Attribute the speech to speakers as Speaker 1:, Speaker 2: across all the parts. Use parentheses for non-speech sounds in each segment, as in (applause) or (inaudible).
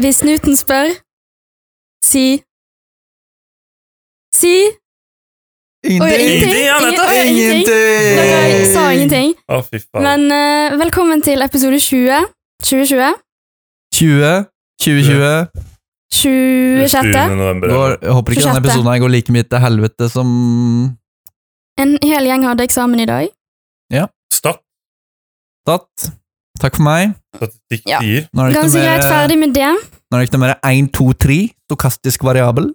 Speaker 1: Hvis snuten spør, si Si Oi,
Speaker 2: Ingenting!
Speaker 1: ingenting.
Speaker 3: Ingenting, ja, nettopp!
Speaker 1: Oi, ingenting. Dere sa ingenting.
Speaker 3: Å, fy faen.
Speaker 1: Men eh, velkommen til episode 20. 2020?
Speaker 2: 20, 2020.
Speaker 1: 26.
Speaker 3: 20. november.
Speaker 2: Går, jeg håper ikke denne
Speaker 1: Fortsatte.
Speaker 2: episoden her går like mye til helvete som
Speaker 1: En hel gjeng hadde eksamen i dag.
Speaker 3: Stat,
Speaker 2: datt. Takk for meg.
Speaker 3: statistikk
Speaker 1: Ja.
Speaker 3: sier
Speaker 1: (laughs)
Speaker 2: Nå er det
Speaker 1: Ganske
Speaker 2: ikke
Speaker 1: greit
Speaker 2: noe mer,
Speaker 1: ferdig med det.
Speaker 2: nå er det ikke noe mer 1, 2, 3, stokastisk variabel.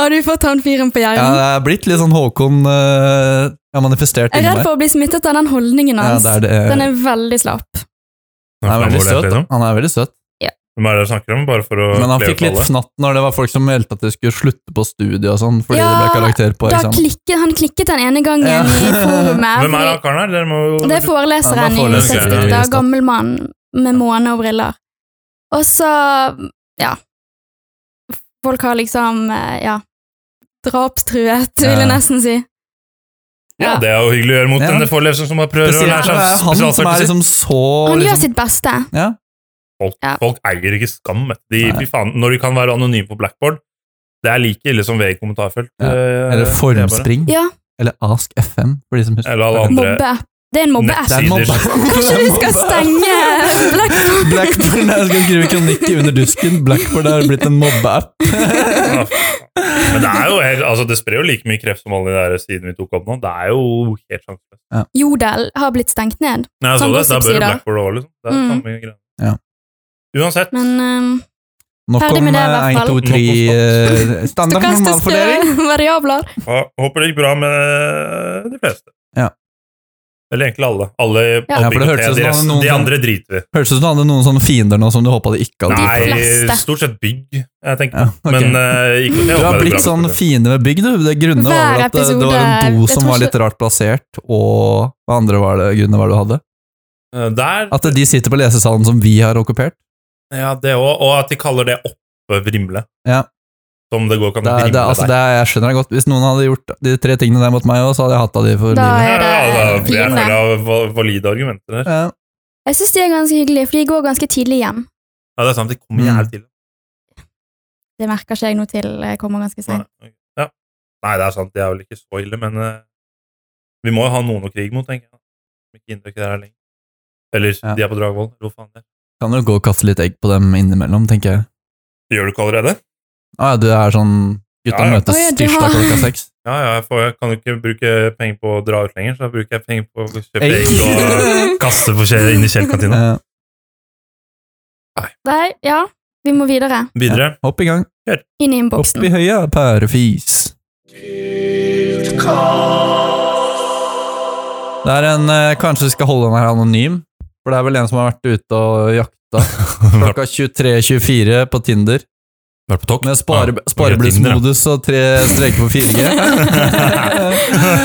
Speaker 1: Har du fått han fyren på
Speaker 2: Ja,
Speaker 1: hjernen?
Speaker 2: det er blitt litt sånn Håkon uh, har manifestert
Speaker 1: Jeg er
Speaker 2: inni
Speaker 1: redd
Speaker 2: meg.
Speaker 1: for å bli smittet av den holdningen
Speaker 2: Ja,
Speaker 1: hans.
Speaker 2: det er det.
Speaker 1: Den er veldig slapp.
Speaker 2: Han er veldig søt. da. Han er veldig søt.
Speaker 3: Hvem er det dere snakker om? Bare for å
Speaker 2: Men han fikk litt
Speaker 3: flertallet.
Speaker 2: fnatt når det var folk som meldte at de skulle slutte på studiet og sånn, fordi det
Speaker 1: Ja,
Speaker 2: ble karakter på
Speaker 1: Da
Speaker 2: eksamen.
Speaker 1: klikket, han klikket den ene gangen
Speaker 2: sånn. Ja.
Speaker 1: i forumet.
Speaker 3: Hvem er han karen her? Dere må jo
Speaker 1: Det er
Speaker 2: Ja,
Speaker 1: foreleseren i
Speaker 2: det var
Speaker 3: foreleseren,
Speaker 1: 60
Speaker 3: ja.
Speaker 1: dager, gammel mann med måne og briller. Og så, ja Folk har liksom, eh, ja Drapstruet, vil jeg
Speaker 2: Ja.
Speaker 1: nesten si.
Speaker 3: Ja, det er jo hyggelig å gjøre mot
Speaker 2: Ja.
Speaker 3: denne foreleseren som har prøver å lære
Speaker 2: Spesielt når det er
Speaker 3: seg
Speaker 2: han som er
Speaker 3: spesialsaker.
Speaker 2: liksom så
Speaker 1: Han gjør
Speaker 2: liksom,
Speaker 1: sitt beste.
Speaker 2: ja.
Speaker 3: Folk,
Speaker 1: Ja.
Speaker 3: folk eier ikke skam. vet du. De,
Speaker 2: Nei.
Speaker 3: fy faen, når de kan være anonyme på blackboard, det er like ille som VG kommentarfelt.
Speaker 2: Ja.
Speaker 3: Eh,
Speaker 2: Eller
Speaker 3: det er bare-
Speaker 2: Formspring.
Speaker 1: Ja,
Speaker 2: Eller Ask FM, for de som husker.
Speaker 3: Eller alle andre.
Speaker 1: mobbe. Det er en mobbeapp.
Speaker 2: Det er en mobbe.
Speaker 1: Kanskje (laughs) vi skal
Speaker 3: (laughs)
Speaker 1: stenge Blackboard?
Speaker 2: Blackboard, nei, jeg skal skrive kronikk under dusken. Blackboard har blitt en mobbeapp.
Speaker 3: Ja, fy faen. Men det er jo helt, altså det sprer jo like mye kreft som alle de der sidene vi tok opp nå. Det er jo helt sjanseløst.
Speaker 1: Jodel har blitt stengt ned.
Speaker 3: Nei, jeg så
Speaker 1: Sånn
Speaker 3: det, det er
Speaker 1: gossip-sider.
Speaker 3: bare blackboard over, liksom. Det er
Speaker 1: Mm.
Speaker 3: samme greie.
Speaker 2: Ja.
Speaker 3: Uansett,
Speaker 1: Men um,
Speaker 2: Nok
Speaker 1: Ferdig
Speaker 2: om
Speaker 1: med det, i hvert
Speaker 2: 1,
Speaker 1: fall.
Speaker 2: 2, 3 eh, Standard normalfordeling.
Speaker 1: stokastiske (laughs) variabler.
Speaker 3: ja, håper det gikk bra med de fleste.
Speaker 2: Ja.
Speaker 3: Eller egentlig alle. alle
Speaker 1: Ja,
Speaker 3: alle
Speaker 2: for det
Speaker 3: IKT,
Speaker 2: hørtes ut som
Speaker 3: de,
Speaker 2: det var
Speaker 3: resten,
Speaker 2: noen
Speaker 3: de
Speaker 2: som-
Speaker 3: andre driter vi.
Speaker 2: Hørtes ut som du hadde noen sånne fiender nå som du håpa du ikke hadde drit
Speaker 3: Nei,
Speaker 1: fleste.
Speaker 3: stort sett bygg, jeg tenker.
Speaker 2: Ja, ok.
Speaker 3: Men eh, IKT
Speaker 2: Du har
Speaker 3: håper jeg det
Speaker 2: blitt
Speaker 3: går bra
Speaker 2: sånn
Speaker 3: med.
Speaker 2: fiende med bygg, du. Det grunne
Speaker 1: Hver
Speaker 2: var at eh, det var
Speaker 1: episode-
Speaker 2: en do
Speaker 1: jeg
Speaker 2: som
Speaker 1: tror
Speaker 2: var litt rart plassert, og hva andre var det, grunner var det du hadde?
Speaker 3: Eh, Der
Speaker 2: At de sitter på lesesalen som vi har okkupert.
Speaker 3: Ja, det òg. Og at de kaller det oppe vrimle.
Speaker 2: Ja.
Speaker 3: Som det går kan
Speaker 2: Det er,
Speaker 3: vrimle
Speaker 2: det, er- altså,
Speaker 3: der.
Speaker 2: det er, jeg skjønner det godt. Hvis noen hadde gjort de tre tingene der mot meg òg, så hadde jeg hatt av de
Speaker 1: Da
Speaker 2: for livet.
Speaker 1: er det
Speaker 3: ja, altså, det er
Speaker 1: vrimle.
Speaker 3: full av val- valide argumenter der.
Speaker 2: Ja.
Speaker 1: Jeg syns de er ganske hyggelige, for de går ganske tidlig hjem.
Speaker 3: Ja, det er sant. De kommer
Speaker 2: Mm.
Speaker 3: jævlig tidlig.
Speaker 1: Det merker ikke jeg noe til. Jeg kommer ganske
Speaker 3: Nei,
Speaker 1: sent.
Speaker 3: ok. ja. Nei, det er sant. De er vel ikke så ille, men eh, vi må jo ha noen å krige mot, tenker jeg. Som ikke inntrykk der lenger. Eller
Speaker 2: Ja.
Speaker 3: de er på Dragvoll. eller Hvor faen det er.
Speaker 2: Kan du gå og kaste litt egg på dem innimellom, tenker jeg.
Speaker 3: Gjør du ikke allerede?
Speaker 2: Ah, ja, du er sånn Gutta
Speaker 3: Ja, ja.
Speaker 2: møtes
Speaker 1: Å, ja, du
Speaker 2: tirsdag
Speaker 1: har-
Speaker 2: klokka seks.
Speaker 3: Ja, ja, jeg, får, jeg kan jo ikke bruke penger på å dra ut lenger, så da bruker jeg penger på å kjøpe
Speaker 2: Egg.
Speaker 3: egg og
Speaker 2: (laughs)
Speaker 3: kasse på kje, inn i Kjell-kantina.
Speaker 2: Eh,
Speaker 1: Nei, ja. Vi må videre.
Speaker 3: Videre.
Speaker 2: hopp i gang.
Speaker 1: Inn i
Speaker 2: Opp
Speaker 1: innboksen.
Speaker 2: i høya, pærefis. Det er en eh, Kanskje vi skal holde den her anonym? For det er vel en som har vært ute og
Speaker 3: (laughs)
Speaker 2: jakta klokka 23.24 på Tinder.
Speaker 3: Vært på tokt?
Speaker 2: Med spare,
Speaker 3: Ja, Tinder,
Speaker 2: spareblussmodus og tre streker på
Speaker 3: (laughs)
Speaker 2: 4G.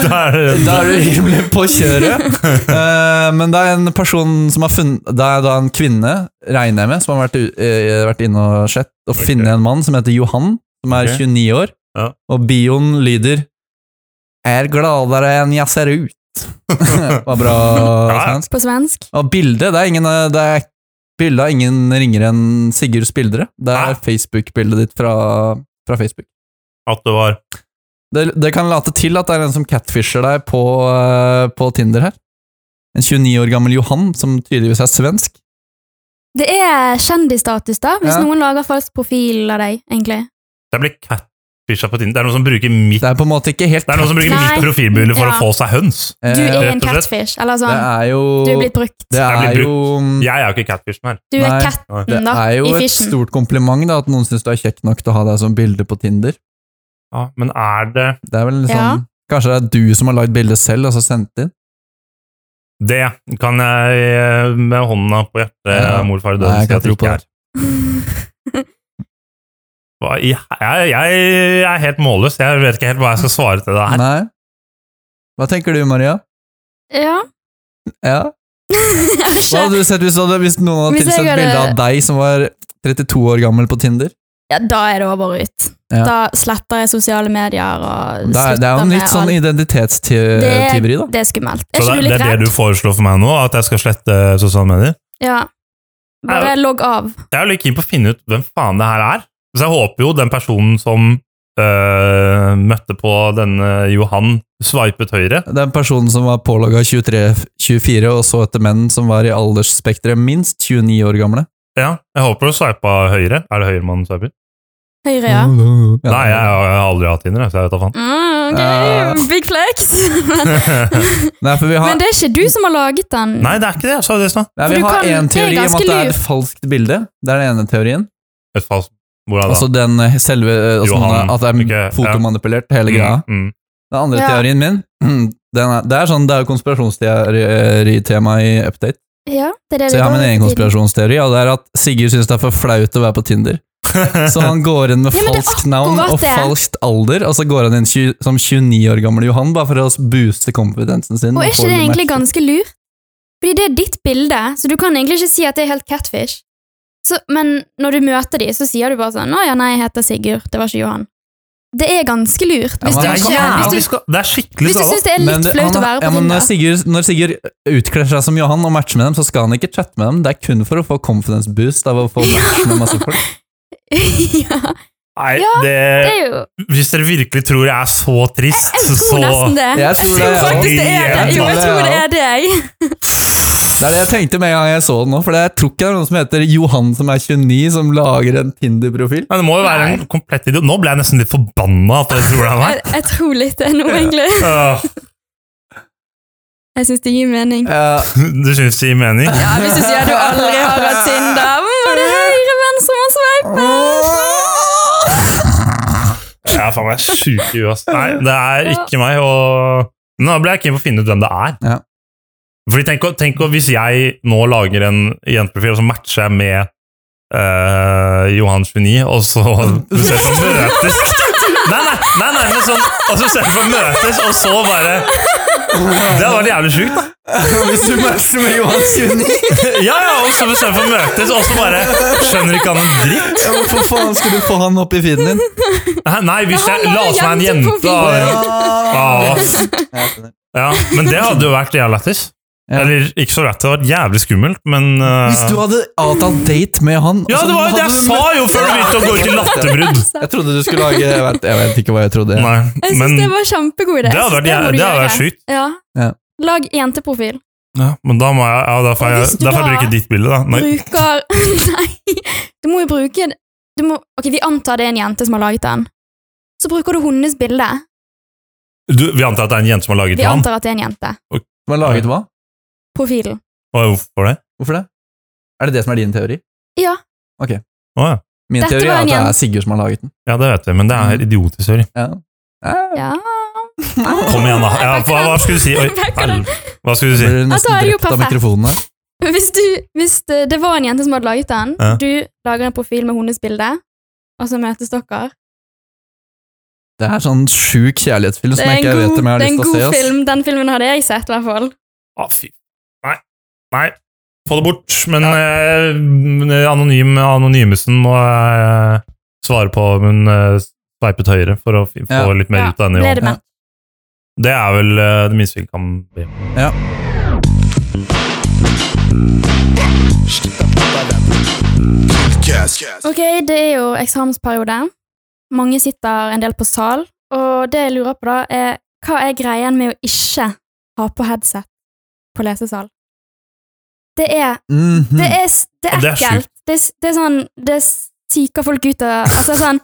Speaker 3: da er det
Speaker 2: altså, Da er du rimelig på kjøret. Eh, men det er en person som har funnet Det er da en kvinne, regner jeg med, som har vært, u- eh, vært inne og sett, og
Speaker 3: Ok.
Speaker 2: finne en mann som heter Johan, som er
Speaker 3: Ok.
Speaker 2: 29 år.
Speaker 3: Ja.
Speaker 2: Og bioen lyder 'Er gladere enn jeg ser
Speaker 3: (laughs)
Speaker 2: ut'. (laughs) Var bra
Speaker 3: Ja.
Speaker 2: svensk.
Speaker 1: På svensk.
Speaker 2: Og bildet det er ingen, eh, det er bildet av ingen ringere enn Sigurd Spildre. Det
Speaker 3: Hæ?
Speaker 2: er Facebook-bildet ditt fra, fra Facebook.
Speaker 3: At det var
Speaker 2: Det, det kan late til at det er en som catfisher deg på, eh, på Tinder her. En 29 år gammel Johan, som tydeligvis er svensk.
Speaker 1: Det er kjendisstatus, da, hvis
Speaker 2: Ja.
Speaker 1: noen lager falsk profil av deg, egentlig.
Speaker 3: Det blir catfisha på Tinder. Det er noen som bruker mitt,
Speaker 2: Det er på en måte ikke helt
Speaker 3: det er noen som bruker
Speaker 1: Nei.
Speaker 3: mitt profilbilde for
Speaker 1: Ja.
Speaker 3: å få seg høns.
Speaker 2: Eh,
Speaker 1: Du er en
Speaker 3: rett og slett.
Speaker 1: catfish, eller
Speaker 2: Det
Speaker 1: sånn.
Speaker 2: er jo
Speaker 1: Du er blitt brukt.
Speaker 2: Det
Speaker 3: Jeg
Speaker 2: er
Speaker 3: blir
Speaker 2: jo
Speaker 3: Jeg er jo ikke catfishen her.
Speaker 1: Du er
Speaker 2: Nei.
Speaker 1: katten,
Speaker 2: Mm. Det
Speaker 1: da,
Speaker 2: er jo
Speaker 1: i
Speaker 2: et
Speaker 1: fishen.
Speaker 2: stort kompliment da, at noen syns du er kjekk nok til å ha deg som bilde på Tinder.
Speaker 3: Ja, men er det
Speaker 2: Det er vel liksom
Speaker 1: Ja.
Speaker 2: Kanskje det er du som har lagd bildet selv og så sendt det inn?
Speaker 3: Det kan jeg eh, med hånda på hjertet eh,
Speaker 2: Ja.
Speaker 3: morfar
Speaker 2: Nei,
Speaker 3: døden
Speaker 2: jeg
Speaker 3: si
Speaker 2: kan
Speaker 3: at det
Speaker 2: tro på
Speaker 3: ikke er.
Speaker 2: det.
Speaker 3: Hva i- Jeg, jeg, jeg er helt målløs. Jeg vet ikke helt hva jeg skal svare til det her.
Speaker 2: Nei? Hva tenker du, Maria?
Speaker 1: (laughs) Ja.
Speaker 2: Ja? Hva hadde du sett hvis, du hadde, hvis noen hadde
Speaker 1: Hvis jeg
Speaker 2: tilsendt
Speaker 1: hadde-
Speaker 2: bilde av deg som var 32 år gammel på Tinder?
Speaker 1: ja, da er det over og ut.
Speaker 2: Ja.
Speaker 1: Da sletter jeg sosiale medier og
Speaker 2: Det er,
Speaker 1: slutter
Speaker 2: det er jo en
Speaker 1: med
Speaker 2: litt sånn
Speaker 1: alt. Det
Speaker 2: identitetstyveri,
Speaker 1: er,
Speaker 2: da.
Speaker 1: det er skummelt. Er
Speaker 3: Så
Speaker 1: ikke du
Speaker 3: det, det
Speaker 1: litt
Speaker 3: er det
Speaker 1: redd?
Speaker 3: eh, du foreslår for meg nå? At jeg skal slette sosiale medier?
Speaker 1: Ja. Bare logg av.
Speaker 3: Jeg er jo litt keen på å finne ut hvem faen det her er. Så jeg håper jo den personen som øh, møtte på denne Johan, sveipet høyre.
Speaker 2: Det er en person som var pålogga 23-24 og så etter menn som var i aldersspekteret minst 29 år gamle.
Speaker 3: Ja, jeg håper du sveipa høyre. Er det høyre man sveiper?
Speaker 1: Høyre, ja.
Speaker 2: Ja.
Speaker 3: Nei, jeg, jeg har aldri hatt Tinder, jeg, så jeg vet
Speaker 2: (laughs)
Speaker 3: da faen.
Speaker 1: Mm,
Speaker 2: Ja.
Speaker 1: ok, big flex. (laughs) Men-
Speaker 2: Nei, for vi har,
Speaker 1: Men det er ikke du som har laget den.
Speaker 3: Nei, det er ikke det. Jeg sa jo det i stad.
Speaker 2: Nei,
Speaker 1: for
Speaker 2: vi
Speaker 1: du
Speaker 2: har
Speaker 1: kan-
Speaker 2: en
Speaker 1: det er
Speaker 2: teori om
Speaker 1: ganske
Speaker 2: at det er
Speaker 1: lur.
Speaker 2: et falskt bilde. Det er den ene teorien.
Speaker 3: Et falskt Hvordan da?
Speaker 2: Altså den selve eh, altså,
Speaker 3: Johan,
Speaker 2: At det er
Speaker 3: ikke- ja.
Speaker 2: fotomanipulert, hele greia.
Speaker 3: Mm, mm.
Speaker 2: Den andre
Speaker 1: Ja.
Speaker 2: teorien min den er, Det er sånn, det er jo konspirasjonsteori-tema i Update.
Speaker 1: Ja, det er det
Speaker 2: Så
Speaker 1: vi
Speaker 2: jeg har
Speaker 1: går
Speaker 2: min egen
Speaker 1: til.
Speaker 2: konspirasjonsteori, og det er at Sigurd syns det er for flaut å være på Tinder.
Speaker 1: (laughs)
Speaker 2: Så han går inn med
Speaker 1: Ja, men det er
Speaker 2: falskt navn
Speaker 1: akkurat
Speaker 2: og
Speaker 1: det.
Speaker 2: falskt alder, og så går han inn tju- som 29 år gammel Johan bare for å booste kompetensen sin.
Speaker 1: Og er ikke
Speaker 2: få
Speaker 1: det
Speaker 2: match.
Speaker 1: egentlig ganske lurt? Fordi det er ditt bilde, så du kan egentlig ikke si at det er helt catfish. Så, men når du møter de, så sier du bare sånn 'Å ja, nei, jeg heter Sigurd. Det var ikke Johan'. Det er ganske lurt. Hvis du
Speaker 2: men
Speaker 3: det, er
Speaker 2: han
Speaker 1: ikke
Speaker 3: jævlig,
Speaker 1: hvis du,
Speaker 3: skal- det er skikkelig sånn.
Speaker 1: hvis du
Speaker 3: skala.
Speaker 1: syns det er
Speaker 2: Men
Speaker 1: litt
Speaker 2: det-
Speaker 1: flaut å
Speaker 2: han-
Speaker 1: være
Speaker 2: ja,
Speaker 1: på
Speaker 2: men når
Speaker 1: Tinder.
Speaker 2: Sigurd, når Sigurd utkler seg som Johan og matcher med dem, så skal han ikke chatte med dem. Det er kun for å få confidence boost av å
Speaker 1: (laughs)
Speaker 2: få match med masse folk.
Speaker 1: (laughs) ja,
Speaker 3: Nei,
Speaker 1: Ja, det
Speaker 3: det,
Speaker 1: er jo
Speaker 3: hvis dere virkelig tror jeg er så trist,
Speaker 1: Jeg tror
Speaker 3: så
Speaker 1: nesten (laughs) det.
Speaker 2: Jeg tror det, jeg
Speaker 1: faktisk det er det. Jo,
Speaker 2: også.
Speaker 1: jeg
Speaker 2: Jeg tror
Speaker 1: tror
Speaker 2: det,
Speaker 1: det
Speaker 2: jeg
Speaker 1: er deg.
Speaker 2: Det er det jeg tenkte med en gang jeg så den nå, for jeg tror ikke det er noen som heter Johan som er 29, som lager en Tinder-profil.
Speaker 3: Nei, det må jo være en komplett idiot. Nå ble jeg nesten litt forbanna at jeg tror det er
Speaker 1: Jeg,
Speaker 3: meg.
Speaker 1: jeg tror litt det nå, egentlig.
Speaker 3: Øh,
Speaker 1: Jeg syns det gir mening.
Speaker 2: Eh,
Speaker 3: Du syns det gir mening?
Speaker 1: Ja, Hvis du sier du aldri har hatt Tinder, mm, er det høyre venstre man sveiper?
Speaker 3: Jeg er faen meg sjuk i huet, ass. Nei, det er ikke meg, og Nå ble jeg keen på å finne ut hvem det er.
Speaker 2: Ja.
Speaker 3: Fordi tenk, å- tenk å- hvis jeg nå lager en jenteprofil, og så matcher jeg med eh, Johan 29, og så ser vi på møtes Nei, nei, nei, nei men sånn, og så ser vi på møtes, og så bare Det hadde vært jævlig sjukt, da.
Speaker 2: Hvis du matcher med Johan 29,
Speaker 3: Ja, ja, og så bestemmer vi for å møtes, og så bare skjønner ikke han en dritt.
Speaker 2: ja, hvorfor faen skulle du få han opp i feeden din?
Speaker 3: Nei, nei hvis
Speaker 1: Men han
Speaker 3: jeg
Speaker 1: la
Speaker 3: la
Speaker 1: jo
Speaker 3: oss være en
Speaker 1: jente
Speaker 3: jente
Speaker 1: på
Speaker 3: da.
Speaker 2: Ja.
Speaker 3: Ja, ass.
Speaker 2: Jeg skjønner.
Speaker 3: ja, Men det hadde jo vært jævlig lættis.
Speaker 2: Ja.
Speaker 3: Eller ikke så lett, det hadde vært jævlig skummelt, men eh,
Speaker 2: Hvis du hadde avtalt date med han
Speaker 3: Ja,
Speaker 2: altså,
Speaker 3: det var jo det jeg
Speaker 2: hadde du
Speaker 3: sa jo før du begynte å gå ut i latterbrudd!
Speaker 2: møtt- Jeg trodde du skulle lage Jeg vet, jeg vet ikke hva jeg trodde.
Speaker 3: Nei,
Speaker 1: Altså, Jeg syns
Speaker 3: men
Speaker 1: det var kjempegod idé.
Speaker 3: det hadde vært, jæ- det hadde vært sykt.
Speaker 1: Ja.
Speaker 2: Ja.
Speaker 1: Lag jenteprofil.
Speaker 3: Ja, men da må jeg, ja, da får
Speaker 1: Og
Speaker 3: jeg,
Speaker 1: hvis du
Speaker 3: da får jeg
Speaker 1: da-
Speaker 3: bruke ditt bilde, da. Nei.
Speaker 1: Bruker (laughs) Nei! Du må jo bruke du må, Ok, vi antar det er en jente som har laget den. Så bruker du hennes bilde.
Speaker 3: Du, vi antar at det er en jente som har laget
Speaker 1: Vi
Speaker 3: Johan?
Speaker 1: antar at det er en jente.
Speaker 2: Du har laget hva?
Speaker 1: Profilen.
Speaker 3: Å, Hvorfor det?
Speaker 2: Hvorfor det? Er det det som er din teori?
Speaker 3: Å ja.
Speaker 2: Min
Speaker 1: Dette
Speaker 2: teori
Speaker 1: var en
Speaker 2: er at det
Speaker 1: igjen.
Speaker 2: er Sigurd som har laget den.
Speaker 3: Ja, det vet vi, men det
Speaker 1: Mm.
Speaker 3: er idiotisk, sorry.
Speaker 2: Ja. Eh,
Speaker 1: Ja
Speaker 3: Kom igjen,
Speaker 1: (laughs)
Speaker 3: da. Ja, hva, hva skulle du si? Oi,
Speaker 1: Backer den.
Speaker 3: helv- hhva skulle du si?
Speaker 2: Blir du
Speaker 1: Altså,
Speaker 2: nesten
Speaker 1: er det jo
Speaker 2: drept av
Speaker 1: perfekt.
Speaker 2: mikrofonen her?
Speaker 1: Hvis, du, hvis det, det var en jente som hadde laget den,
Speaker 3: Ja.
Speaker 1: du lager en profil med hennes bilde, og så møtes dere
Speaker 2: Det er sånn sjuk kjærlighetsfilm
Speaker 1: Det
Speaker 2: som
Speaker 1: er
Speaker 2: jeg ikke
Speaker 1: en
Speaker 2: vet
Speaker 1: god,
Speaker 2: om jeg har
Speaker 1: det er en
Speaker 2: lyst til å
Speaker 1: god
Speaker 2: se. ass.
Speaker 1: film. Den filmen hadde jeg sett, i hvert fall.
Speaker 3: Å, Ah, fy. Nei. Nei. Få det bort. Men eh, men, eh, anonym, anonymesen må jeg eh, svare på om hun eh, sveipet høyre for å fi- få
Speaker 2: Ja.
Speaker 3: litt mer
Speaker 1: Ja,
Speaker 3: ut av
Speaker 1: ble
Speaker 3: henne.
Speaker 1: det
Speaker 3: i år.
Speaker 1: med.
Speaker 3: Det er vel eh, det minste vi kan be om.
Speaker 2: Ja.
Speaker 1: Ok, det er jo eksamensperiode. Mange sitter en del på sal, og det jeg lurer på da, er hva er greien med å ikke ha på headset på lesesal? Det er
Speaker 2: Mhm.
Speaker 1: Det er, s- det
Speaker 3: Og
Speaker 1: er
Speaker 3: det er
Speaker 1: ekkelt. Det, er s- det er sånn Det psyker folk ut av Altså sånn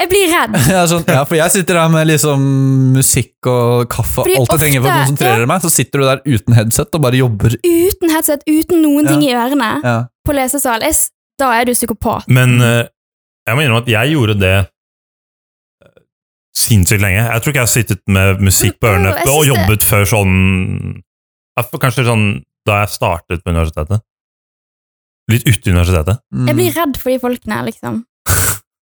Speaker 1: Jeg blir redd.
Speaker 2: (laughs) Ja, sånn, ja, for jeg sitter her med liksom musikk og kaffe og
Speaker 1: Fordi
Speaker 2: alt jeg trenger for å
Speaker 1: ofte-
Speaker 2: konsentrere meg, så sitter du der uten headset og bare jobber.
Speaker 1: Uten headset, uten noen ting i ørene,
Speaker 2: Ja.
Speaker 1: på lesesal. Jeg, s- da er du psykopat.
Speaker 3: Men eh, jeg må innrømme at jeg gjorde det eh, sinnssykt lenge. Jeg tror ikke jeg har sittet med musikk på
Speaker 1: Men,
Speaker 3: ørene
Speaker 1: jeg
Speaker 3: og
Speaker 1: synes
Speaker 3: jobbet før sånn ja, for Kanskje sånn da jeg startet på universitetet. Litt uti universitetet.
Speaker 2: Mm.
Speaker 1: Jeg blir redd for de folkene, liksom.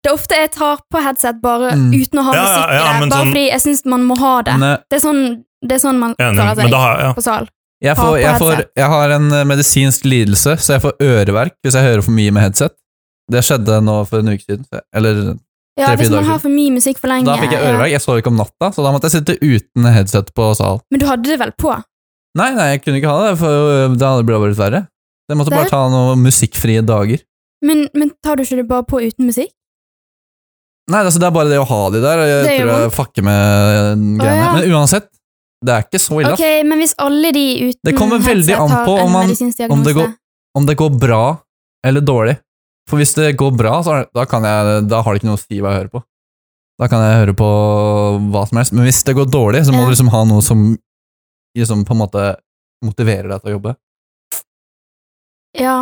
Speaker 1: Det er ofte jeg tar på headset bare
Speaker 2: Mm.
Speaker 1: uten å ha
Speaker 3: Ja, ja,
Speaker 1: musikk i
Speaker 3: ja,
Speaker 1: det,
Speaker 3: men
Speaker 1: bare
Speaker 3: sånn-
Speaker 1: fordi jeg syns man må ha det.
Speaker 2: Men, eh,
Speaker 1: Det er sånn, det er sånn man
Speaker 3: Enig.
Speaker 1: klarer
Speaker 3: Men
Speaker 1: seg
Speaker 3: da har ja.
Speaker 1: på sal.
Speaker 2: Jeg,
Speaker 1: Ha
Speaker 2: får,
Speaker 1: på
Speaker 2: jeg, får,
Speaker 1: headset.
Speaker 2: jeg har en eh, medisinsk lidelse, så jeg får øreverk hvis jeg hører for mye med headset. Det skjedde nå for en uke siden. så- Eller,
Speaker 1: Ja,
Speaker 2: Tre-fire
Speaker 1: hvis man
Speaker 2: dager
Speaker 1: har for mye musikk for lenge.
Speaker 2: da fikk jeg
Speaker 1: ja.
Speaker 2: øreverk. Jeg så ikke om natta, så da måtte jeg sitte uten headset på sal.
Speaker 1: Men du hadde det vel på?
Speaker 2: Nei, nei, jeg kunne ikke ha det, for eh, det hadde øh, blitt verre. Jeg måtte
Speaker 1: Det er
Speaker 2: bare ta noen musikkfrie dager.
Speaker 1: Men, men tar du ikke det bare på uten musikk?
Speaker 2: Nei, altså, det er bare det å ha de der. Jeg
Speaker 1: Det gjør
Speaker 2: tror jeg fucker med øh, greiene.
Speaker 1: ja.
Speaker 2: Men uansett, det er ikke så ille.
Speaker 1: Ok,
Speaker 2: ass.
Speaker 1: men hvis alle de uten
Speaker 2: Det kommer veldig
Speaker 1: headset
Speaker 2: an
Speaker 1: har
Speaker 2: på om
Speaker 1: en
Speaker 2: man-
Speaker 1: medisinsk
Speaker 2: om det
Speaker 1: diagnose.
Speaker 2: går- Om det går bra eller dårlig. For hvis det går bra, så er- da, kan jeg, da har det ikke noe å si hva jeg hører på. Da kan jeg høre på hva som helst. Men hvis det går dårlig, så må
Speaker 1: Ja.
Speaker 2: du liksom ha noe som liksom på en måte motiverer deg til å jobbe.
Speaker 1: Ja.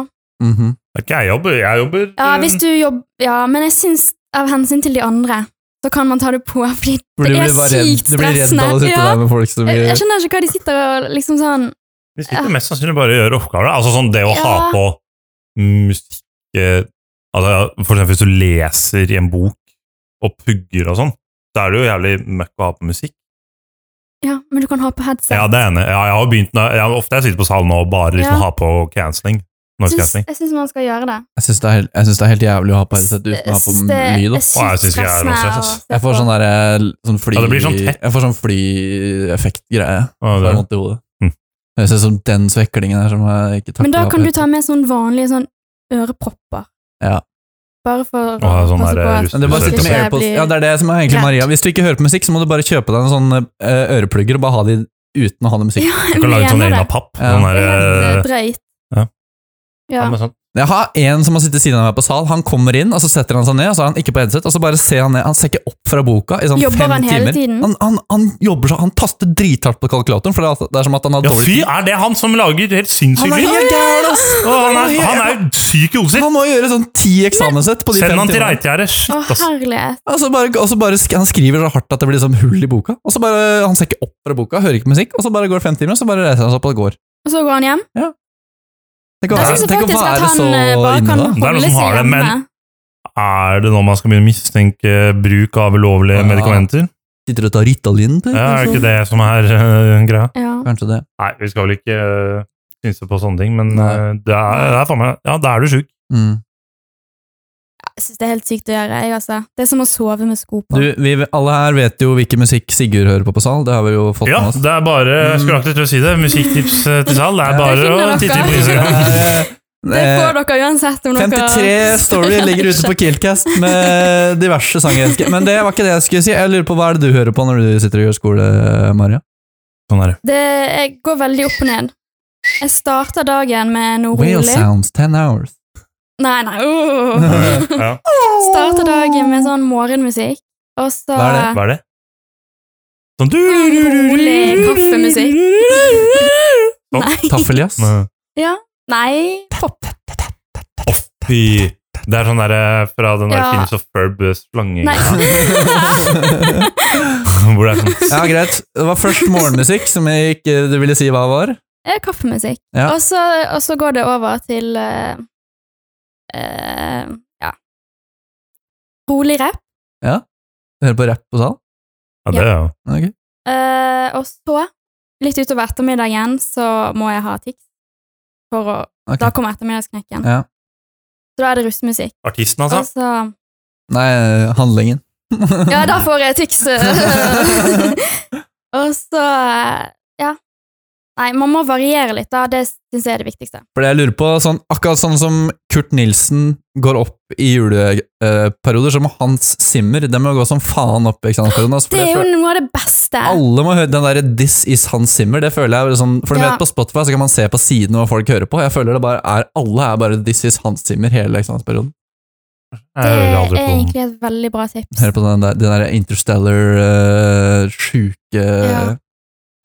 Speaker 2: Mhm.
Speaker 3: Det er ikke jeg jobber. Jeg jobber
Speaker 1: ja,
Speaker 3: eh,
Speaker 1: hvis du jobber Ja, men jeg syns av hensyn til de andre, så kan man ta det på, fordi
Speaker 2: For
Speaker 1: Det
Speaker 2: du
Speaker 1: er
Speaker 2: blir bare redd,
Speaker 1: sykt
Speaker 2: du blir redd av å
Speaker 1: stressende,
Speaker 2: sitte
Speaker 1: ja.
Speaker 2: der med folk som
Speaker 1: jeg,
Speaker 2: blir
Speaker 1: jeg skjønner ikke hva de sitter og liksom sånn
Speaker 3: Vi sitter mest sannsynlig bare og gjør oppgaver. da. Altså sånn det å ha
Speaker 1: Ja.
Speaker 3: på musikk eh, altså, For eksempel hvis du leser i en bok og pugger og sånn, så er det jo jævlig møkk å ha på musikk.
Speaker 1: Ja, men du kan ha på headset.
Speaker 3: Ja, det er jeg enig. i. Ja, jeg har begynt, når- jeg, ofte jeg sitter på salen og bare liksom
Speaker 1: Ja.
Speaker 3: har på cancelling. Noise
Speaker 1: Syns-
Speaker 3: cancelling.
Speaker 1: jeg syns man skal gjøre det.
Speaker 2: Jeg syns det, er helt- jeg syns det er helt jævlig å ha på headset uten å ha på
Speaker 1: syns det er
Speaker 2: lyd. da.
Speaker 1: sykt
Speaker 3: Å, jeg syns ikke jeg er noe
Speaker 1: stressende
Speaker 3: stress, ass.
Speaker 1: å se
Speaker 2: Jeg får
Speaker 1: på.
Speaker 2: sånn der, sånn fly...
Speaker 3: Ja, det blir sånn tett.
Speaker 2: Jeg får sånn flyeffektgreie.
Speaker 3: Ja,
Speaker 2: Så
Speaker 3: det
Speaker 2: jeg
Speaker 3: er-
Speaker 2: har vondt i hodet.
Speaker 3: Mm.
Speaker 2: Jeg ser sånn den sveklingen her som jeg ikke takler.
Speaker 1: Men da
Speaker 2: å ha på
Speaker 1: kan du
Speaker 2: headset.
Speaker 1: ta med sånn vanlige sånn ørepropper.
Speaker 2: Ja.
Speaker 1: Bare for
Speaker 3: Å, sånn der, eh,
Speaker 2: Men det er
Speaker 1: at
Speaker 2: bare å
Speaker 3: russisk-
Speaker 1: ikke
Speaker 2: sitte med
Speaker 1: jeg
Speaker 2: airpods.
Speaker 1: blir-
Speaker 2: Ja, det er det som er egentlig
Speaker 1: Greit.
Speaker 2: Maria. Hvis du ikke hører på musikk, så må du bare kjøpe deg en sånn eh, øreplugger og bare ha de uten å ha noe
Speaker 1: Ja,
Speaker 2: musikk.
Speaker 1: (laughs) jeg
Speaker 3: Du kan lage sånn
Speaker 1: mener det.
Speaker 3: egen av papp.
Speaker 2: Ja.
Speaker 3: Sånn
Speaker 1: Det
Speaker 3: der,
Speaker 1: er
Speaker 3: eh,
Speaker 1: helt drøyt.
Speaker 3: ja.
Speaker 1: Ja.
Speaker 3: ja, men sånn.
Speaker 2: Jeg har en som har sittet siden av meg på sal. Han kommer inn, og så setter han seg ned, og så er han ikke på headset, og så bare ser han ned. Han ser ikke opp fra boka i sånn
Speaker 1: Jobber
Speaker 2: fem
Speaker 1: han hele
Speaker 2: timer.
Speaker 1: tiden?
Speaker 2: Han, han, han jobber så Han taster drithardt på kalkulatoren, for det er- altså- det er som at han har
Speaker 3: ja,
Speaker 2: dårlig
Speaker 3: fy, er det han som lager helt sinnssykt
Speaker 2: Han er
Speaker 3: lyd?
Speaker 2: helt gæren, ass!
Speaker 3: Å, Han er, han er jo syk i hodet sitt!
Speaker 2: Han må gjøre sånn ti eksamenssett på de
Speaker 3: Send
Speaker 2: fem
Speaker 3: han til
Speaker 2: timene.
Speaker 3: Reitgjerdet. Shit,
Speaker 1: Å,
Speaker 3: ass.
Speaker 1: herlighet.
Speaker 2: Og så bare, og så bare sk han skriver så hardt at det blir sånn hull i boka. Og så bare, Han ser ikke opp fra boka, hører ikke musikk, og så bare går det fem timer, og så bare reiser han seg opp og går.
Speaker 1: Og så går han hjem.
Speaker 2: Tenk å
Speaker 1: Jeg
Speaker 2: være,
Speaker 1: syns
Speaker 2: tenk å
Speaker 1: faktisk at
Speaker 2: være
Speaker 1: han
Speaker 2: så
Speaker 1: eh, bare
Speaker 2: inne,
Speaker 1: kan
Speaker 2: da.
Speaker 3: Det er noen
Speaker 1: holde
Speaker 3: som
Speaker 1: seg
Speaker 3: har det,
Speaker 1: hjemme.
Speaker 3: men- Er det nå man skal begynne å mistenke bruk av ulovlige
Speaker 2: Ja.
Speaker 3: medikamenter?
Speaker 2: Sitter og tar Ritalin, du?
Speaker 3: Ja, er det
Speaker 2: kanskje?
Speaker 3: ikke det som er eh, greia?
Speaker 1: Ja.
Speaker 2: Kanskje det.
Speaker 3: Nei, vi skal vel ikke eh, synse på sånne ting, men
Speaker 2: Nei.
Speaker 3: eh, det er, det er faen meg Ja, da er du sjuk.
Speaker 2: Mm.
Speaker 1: Jeg syns det er helt sykt å gjøre. Jeg, altså. Det er som å sove med sko på.
Speaker 2: Du, vi, alle her vet jo hvilken musikk Sigurd hører på på sal. Det har vi jo fått
Speaker 3: Ja,
Speaker 2: med oss.
Speaker 3: det er bare Jeg skulle akkurat til å si det. Musikktips eh, til salg. Det
Speaker 2: Ja.
Speaker 3: er bare
Speaker 1: Det
Speaker 3: å
Speaker 1: finner
Speaker 3: titte
Speaker 1: dere.
Speaker 3: på Instagram.
Speaker 1: det får dere uansett om
Speaker 2: 53
Speaker 1: (laughs) dere
Speaker 2: Eh, Story ligger ute på Kiltcast med diverse sanger. Men det var ikke det jeg skulle si. Jeg lurer på Hva er det du hører på når du sitter og gjør skole, Maria?
Speaker 3: Sånn er det.
Speaker 1: Det jeg går veldig opp og ned. Jeg starter dagen med noe
Speaker 2: Whale
Speaker 1: rolig.
Speaker 2: Sounds, 10 Hours.
Speaker 1: Nei, nei, åh.
Speaker 3: Ja.
Speaker 1: Starter dagen med sånn morgenmusikk, og så
Speaker 2: Hva er
Speaker 3: Hva er det? Sånn du
Speaker 1: Rolig kaffemusikk. Nei.
Speaker 2: Taffeljazz.
Speaker 1: Ja. Nei, pop.
Speaker 3: Fy. Det er sånn derre fra den der
Speaker 1: Ja.
Speaker 3: Kings of eh, Ferb-slangen.
Speaker 1: Nei.
Speaker 3: (laughs) Hvor det er sånn
Speaker 2: (laughs) Ja, greit. Det var først morgenmusikk som jeg ikke du ville si hva var.
Speaker 1: Eh, Kaffemusikk.
Speaker 2: Ja.
Speaker 1: Og, så, og så går det over til eh, eh, Ja. Rolig rapp.
Speaker 2: Du hører på rapp på sal?
Speaker 3: Ja, det er jo
Speaker 2: Ok.
Speaker 1: Eh, og så, litt utover ettermiddagen, så må jeg ha tics. For å,
Speaker 2: Ok.
Speaker 1: Da kommer ettermiddagsknekken.
Speaker 2: Ja.
Speaker 1: Så da er det russemusikk.
Speaker 3: artisten, altså.
Speaker 1: Og så
Speaker 2: Nei, handlingen.
Speaker 1: Ja, da får jeg
Speaker 2: (laughs)
Speaker 1: tics. og så eh, Ja. Nei, man må variere litt, da. Det syns jeg er det viktigste.
Speaker 2: For det jeg lurer på, sånn, akkurat sånn som Kurt Nilsen går opp i juleperioder, så må Hans Zimmer de må gå som faen opp i eksamensperioden. Altså, for
Speaker 1: Det er
Speaker 2: jeg
Speaker 1: jo
Speaker 2: føler-
Speaker 1: noe av det beste.
Speaker 2: alle må høre den der 'This is Hans Zimmer'. det føler jeg er sånn, For du
Speaker 1: Ja.
Speaker 2: vet På Spotify så kan man se på siden hva folk hører på. Jeg føler det bare er, Alle er bare 'This is Hans Zimmer' hele eksamensperioden.
Speaker 1: Det
Speaker 3: Jeg hører
Speaker 1: er
Speaker 3: aldri på den.
Speaker 1: egentlig et veldig bra tips.
Speaker 2: Hører på den der, den der interstellar uh, sjuke
Speaker 1: Ja.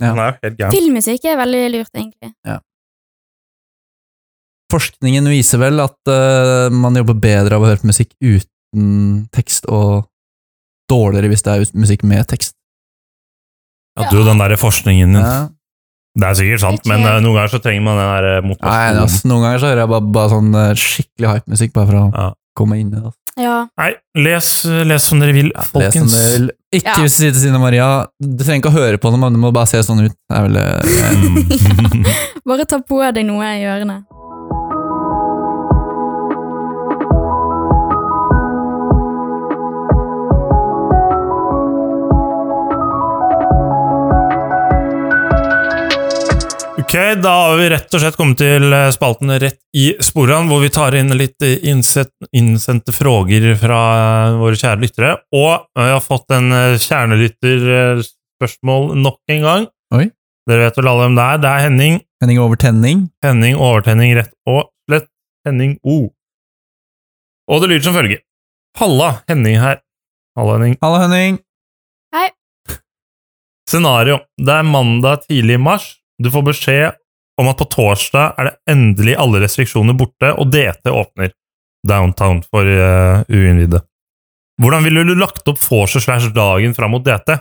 Speaker 2: Ja.
Speaker 3: Han er jo helt gæren.
Speaker 1: Filmmusikk er veldig lurt, egentlig.
Speaker 2: Forskningen viser vel at eh, man jobber bedre av å høre på musikk uten tekst, og dårligere hvis det er ut- musikk med tekst.
Speaker 3: Ja, du, den der forskningen din.
Speaker 2: Ja.
Speaker 3: Det er sikkert sant, men eh, noen ganger så trenger man den der eh,
Speaker 2: Nei,
Speaker 3: motivasjonen.
Speaker 2: altså, noen ganger så hører jeg bare, bare sånn eh, skikkelig hype-musikk, bare for å
Speaker 3: Ja.
Speaker 2: komme inn i det. altså.
Speaker 1: Ja.
Speaker 3: Nei, les, les som dere vil,
Speaker 2: Les som
Speaker 3: folkens.
Speaker 2: du vil. Ikke
Speaker 1: Ja.
Speaker 2: si til Sine Maria Du trenger ikke å høre på noe, men du må bare se sånn ut. Det er vel eh,
Speaker 3: (laughs) Mm.
Speaker 1: Bare ta på deg noe i ørene.
Speaker 3: (laughs) Ok, da har vi rett og slett kommet til eh, spalten Rett i sporene, hvor vi tar inn litt eh, innsett, innsendte frågor fra eh, våre kjære lyttere. Og eh, jeg har fått en eh, kjernelytterspørsmål nok en gang.
Speaker 2: Oi.
Speaker 3: Dere vet vel alle hvem det er. Det er Henning.
Speaker 2: Henning over tenning.
Speaker 3: Henning Overtenning rett og slett. Henning O. Og det lyder som følger. Halla, Henning her. Halla, Henning.
Speaker 2: Hallo, Henning.
Speaker 3: Scenario. Det er mandag tidlig i mars. Du får beskjed om at på torsdag er det endelig alle restriksjoner borte, og DT åpner. Downtown for uh, uinnvidde. Hvordan ville du lagt opp vorset slash dagen fram mot DT?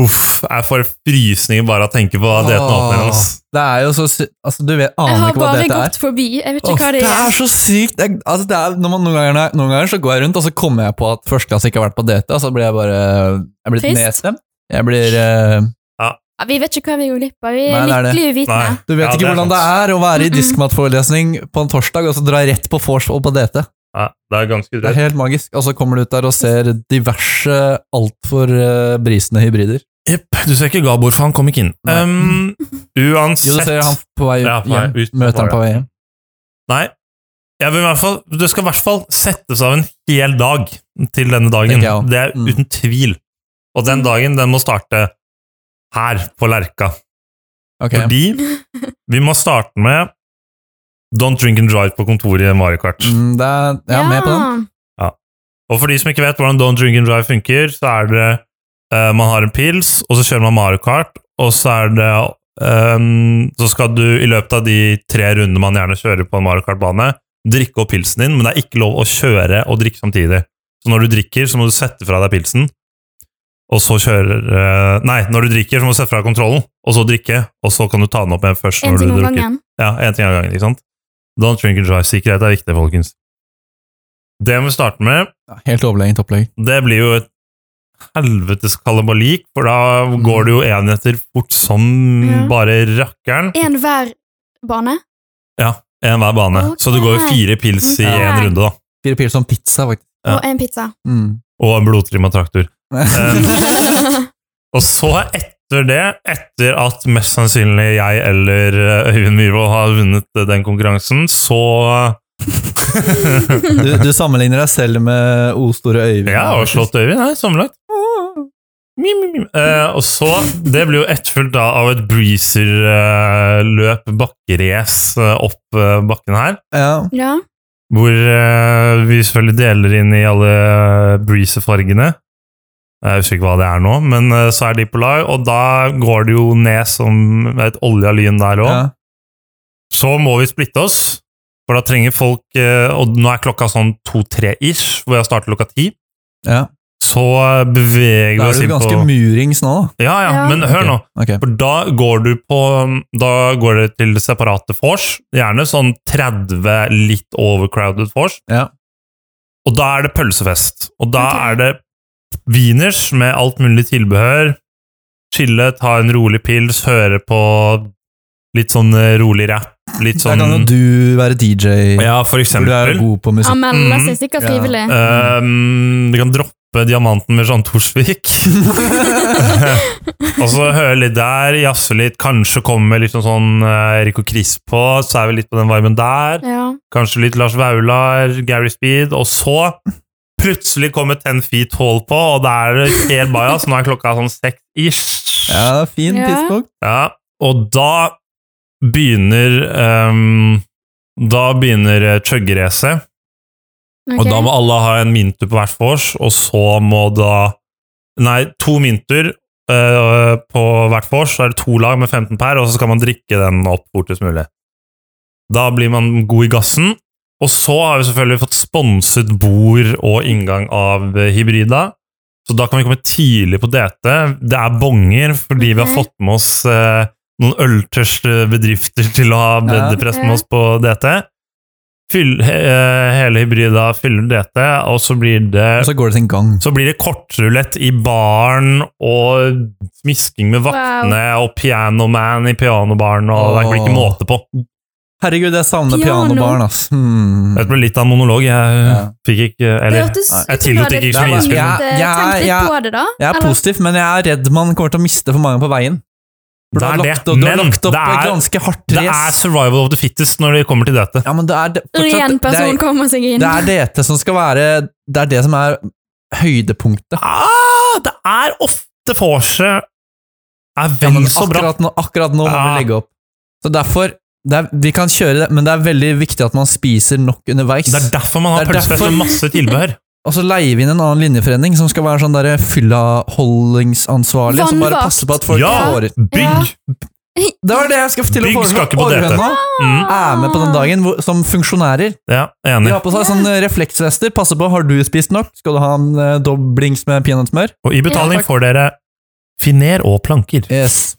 Speaker 3: Uff, jeg får frysninger bare av å tenke på hva DT åpner. ass.
Speaker 2: Det er jo så sy Altså, du vet,
Speaker 1: Jeg
Speaker 2: aner
Speaker 1: har
Speaker 2: ikke hva
Speaker 1: bare
Speaker 2: dette er.
Speaker 1: gått forbi. Jeg vet ikke
Speaker 2: Åh,
Speaker 1: hva
Speaker 2: det
Speaker 1: det
Speaker 2: er
Speaker 1: er.
Speaker 2: så sykt! Det er, altså, det er, når man, noen, ganger, noen ganger så går jeg rundt, og så kommer jeg på at førsteklasse ikke har vært på DT, og så blir jeg bare Jeg blir
Speaker 1: Trist.
Speaker 2: nedstemt. Jeg blir eh,
Speaker 1: Ja, Vi vet ikke hva vi glipper. Vi
Speaker 2: Nei,
Speaker 1: er
Speaker 2: det er det.
Speaker 1: lykkelig uvitende.
Speaker 3: Nei.
Speaker 2: Du vet
Speaker 3: Ja, det
Speaker 2: ikke
Speaker 3: er
Speaker 2: hvordan det er å være i diskmatforelesning på en torsdag, og så dra rett på vors og på DT.
Speaker 3: Ja, det er ganske
Speaker 2: Det
Speaker 3: drøyt.
Speaker 2: er helt magisk. Og så kommer du ut der og ser diverse altfor uh, brisende hybrider.
Speaker 3: Jepp, du ser ikke Gabor, for han kom ikke inn.
Speaker 2: Nei.
Speaker 3: Um,
Speaker 2: (laughs) Jo, du
Speaker 3: uansett
Speaker 2: ser han på vei
Speaker 3: Ja, på vei
Speaker 2: hjem.
Speaker 3: ut.
Speaker 2: Møter han på vei hjem.
Speaker 3: Nei. Jeg vil i hvert fall, det skal i hvert fall settes av en hel dag til denne dagen.
Speaker 2: Tenker jeg også.
Speaker 3: Det er
Speaker 2: Mm.
Speaker 3: uten tvil. Og den dagen den må starte her, på Lerka.
Speaker 2: Ok.
Speaker 3: Fordi vi må starte med Don't drink and drive på kontoret i Mario Kart.
Speaker 2: Mm, det er, jeg er med på den.
Speaker 3: Og for de som ikke vet hvordan Don't drink and drive funker, så er det eh, Man har en pils, og så kjører man Mario Kart, og så er det ehm, Så skal du i løpet av de tre rundene man gjerne kjører på en Mario Kart-bane, drikke opp pilsen din, men det er ikke lov å kjøre og drikke samtidig. Så når du drikker, så må du sette fra deg pilsen, og så kjører eh, Nei, når du drikker, så må du sette fra deg kontrollen, og så drikke, og så kan du ta den opp igjen først
Speaker 1: En
Speaker 3: når
Speaker 1: ting
Speaker 3: du
Speaker 1: om
Speaker 3: drukker.
Speaker 1: gangen.
Speaker 3: Ja, én ting av gangen, ikke sant? Don't drink and drive. Sikkerhet er viktig, folkens. Det må vi starte med.
Speaker 2: Ja, Helt overlegent opplegg.
Speaker 3: Det blir jo et helvetes kalabalik, for da går det jo enheter fort som
Speaker 1: Mm. Ja.
Speaker 3: bare rakkeren.
Speaker 1: En hver bane.
Speaker 3: En hver bane. Så det går jo
Speaker 1: Ok.
Speaker 3: fire pils i
Speaker 1: Ok.
Speaker 3: én runde, da.
Speaker 2: Fire piler som pizza, faktisk.
Speaker 3: Ja.
Speaker 1: Og en pizza.
Speaker 2: Mm.
Speaker 3: Og en
Speaker 1: (laughs)
Speaker 3: blodtrimma traktor. Eh, Og så etter det, etter at mest sannsynlig jeg eller eh, Øyvind Myhrvold har vunnet eh, den konkurransen,
Speaker 1: (laughs)
Speaker 3: så
Speaker 2: du, du sammenligner deg selv med O store Øyvind.
Speaker 3: Ja, og slått Øyvind. Nei, sammenlagt. Mim, mim, mim. Eh, og så, Det blir jo etterfulgt da av et breezer-løp, bakkerace, eh, opp eh, bakken her.
Speaker 2: Ja.
Speaker 1: Ja.
Speaker 3: Hvor eh, vi selvfølgelig deler inn i alle breezer-fargene. Jeg husker ikke hva det er nå, men eh, så er de på lag, og da går det jo ned som et olja lyn der òg.
Speaker 2: ja.
Speaker 3: Så må vi splitte oss, for da trenger folk eh, Og nå er klokka sånn to-tre-ish, hvor jeg starter klokka ti.
Speaker 2: ja.
Speaker 3: Så eh, beveger vi
Speaker 2: Da
Speaker 3: oss
Speaker 2: er du
Speaker 3: inn på
Speaker 2: ganske murings nå, da.
Speaker 3: Ja, ja,
Speaker 1: Ja.
Speaker 3: men hør nå.
Speaker 2: Ok.
Speaker 3: For da går du på Da går det til separate vors. Gjerne sånn 30 litt overcrowded vors.
Speaker 2: Ja.
Speaker 3: Og da er det pølsefest. Og da
Speaker 1: Ok.
Speaker 3: er det wieners med alt mulig tilbehør. Chille, ta en rolig pils, høre på litt sånn eh, rolig rapp. Litt
Speaker 2: Da
Speaker 3: sånn
Speaker 2: kan jo du være DJ,
Speaker 3: Ja,
Speaker 2: for
Speaker 3: for
Speaker 2: du er
Speaker 3: eksempel.
Speaker 2: jo god på
Speaker 1: Han
Speaker 2: musikk.
Speaker 1: melder seg sikkert
Speaker 2: Ja.
Speaker 3: Mm,
Speaker 1: frivillig.
Speaker 3: Ehm, du kan droppe diamanten med Jean Torsvik. og så høre litt der, jazze litt, kanskje komme litt sånn, sånn eh, Erik og Chris på, så er vi litt på den varmen der.
Speaker 1: Ja.
Speaker 3: Kanskje litt Lars Vaular, Gary Speed, og så plutselig kommer Ten Feet Hall på, og da er det helt bajas. Nå er klokka sånn seks-ish.
Speaker 2: Ja, fint
Speaker 1: Ja.
Speaker 2: tidspunkt.
Speaker 3: Ja, og da begynner ehm, Da begynner eh, chuggeracet.
Speaker 1: ok.
Speaker 3: Og da må alle ha en mintur på hvert vors, og så må da Nei, to mintur eh, på hvert vors. Så er det to lag med 15 per, og så skal man drikke den opp fortest mulig. Da blir man god i gassen. Og så har vi selvfølgelig fått sponset bord og inngang av eh, Hybrida. Så da kan vi komme tidlig på DT. Det er bonger, fordi vi har
Speaker 1: Ok.
Speaker 3: fått med oss eh, noen øltørste bedrifter til å ha breddepress med oss på DT. Fyll, he, eh, hele Hybrida fyller DT, og så blir
Speaker 2: Og
Speaker 3: det
Speaker 2: så går det sin gang.
Speaker 3: så blir det kortrulett i baren og smisking med vaktene og pianoman i pianobaren, og det blir
Speaker 2: Åh.
Speaker 3: ikke måte på.
Speaker 2: Herregud, jeg savner
Speaker 1: Piano.
Speaker 2: pianobaren, ass. Hmm.
Speaker 3: Det ble litt av en monolog. Jeg
Speaker 2: Ja.
Speaker 3: fikk ikke
Speaker 1: det
Speaker 3: Eller
Speaker 1: hørtes
Speaker 2: Nei,
Speaker 1: ut
Speaker 3: jeg
Speaker 1: som du
Speaker 3: tillot
Speaker 1: hadde
Speaker 3: ikke
Speaker 2: Det er bare-
Speaker 1: tenkt
Speaker 3: gniskudd.
Speaker 2: Ja,
Speaker 1: litt
Speaker 2: ja,
Speaker 1: på det, da.
Speaker 2: Jeg er
Speaker 1: Eller-
Speaker 2: positiv, men jeg er redd man kommer til å miste for mange på veien. For du har
Speaker 3: Det er
Speaker 2: lagt,
Speaker 3: det,
Speaker 2: du har
Speaker 3: men
Speaker 2: lagt opp
Speaker 3: det er-
Speaker 2: et ganske hardt
Speaker 3: Det er
Speaker 2: race.
Speaker 3: survival of the fittest når det kommer til dette.
Speaker 2: Ja, men det er det,
Speaker 1: Én
Speaker 2: fortsatt, det,
Speaker 1: person
Speaker 2: er,
Speaker 1: kommer seg inn.
Speaker 2: det er dette som skal være Det er det som er høydepunktet.
Speaker 3: Ah, det er ofte vorset er
Speaker 2: Ja,
Speaker 3: vel
Speaker 2: men
Speaker 3: så bra.
Speaker 2: akkurat nå, akkurat nå må
Speaker 3: Ja.
Speaker 2: vi legge opp. Så derfor det er, Vi kan kjøre det, men det er veldig viktig at man spiser nok underveis.
Speaker 3: Det er derfor man har
Speaker 2: Det er
Speaker 3: pølsepress
Speaker 2: derfor-
Speaker 3: med masse tilbehør.
Speaker 2: Og så leier vi inn en annen linjeforening som skal være sånn derre fyllaholdingsansvarlig. Som bare
Speaker 1: Vannvakt.
Speaker 2: passer på at (laughs) folk
Speaker 3: Ja.
Speaker 2: får
Speaker 3: Bygg!
Speaker 1: (laughs)
Speaker 2: Det var det jeg skal til å
Speaker 3: Bygg skal ikke
Speaker 2: foreslå.
Speaker 3: på dette.
Speaker 2: Orrhøna
Speaker 3: Mm,
Speaker 2: er med på den dagen hvor, som funksjonærer.
Speaker 3: ja,
Speaker 2: De
Speaker 3: enig.
Speaker 2: har på seg sånn refleksvester. Passer på, har du spist nok? Skal du ha en eh, doblings med peanøttsmør?
Speaker 3: Og i betaling
Speaker 2: Ja, takk.
Speaker 3: får dere finer og planker.
Speaker 2: Yes.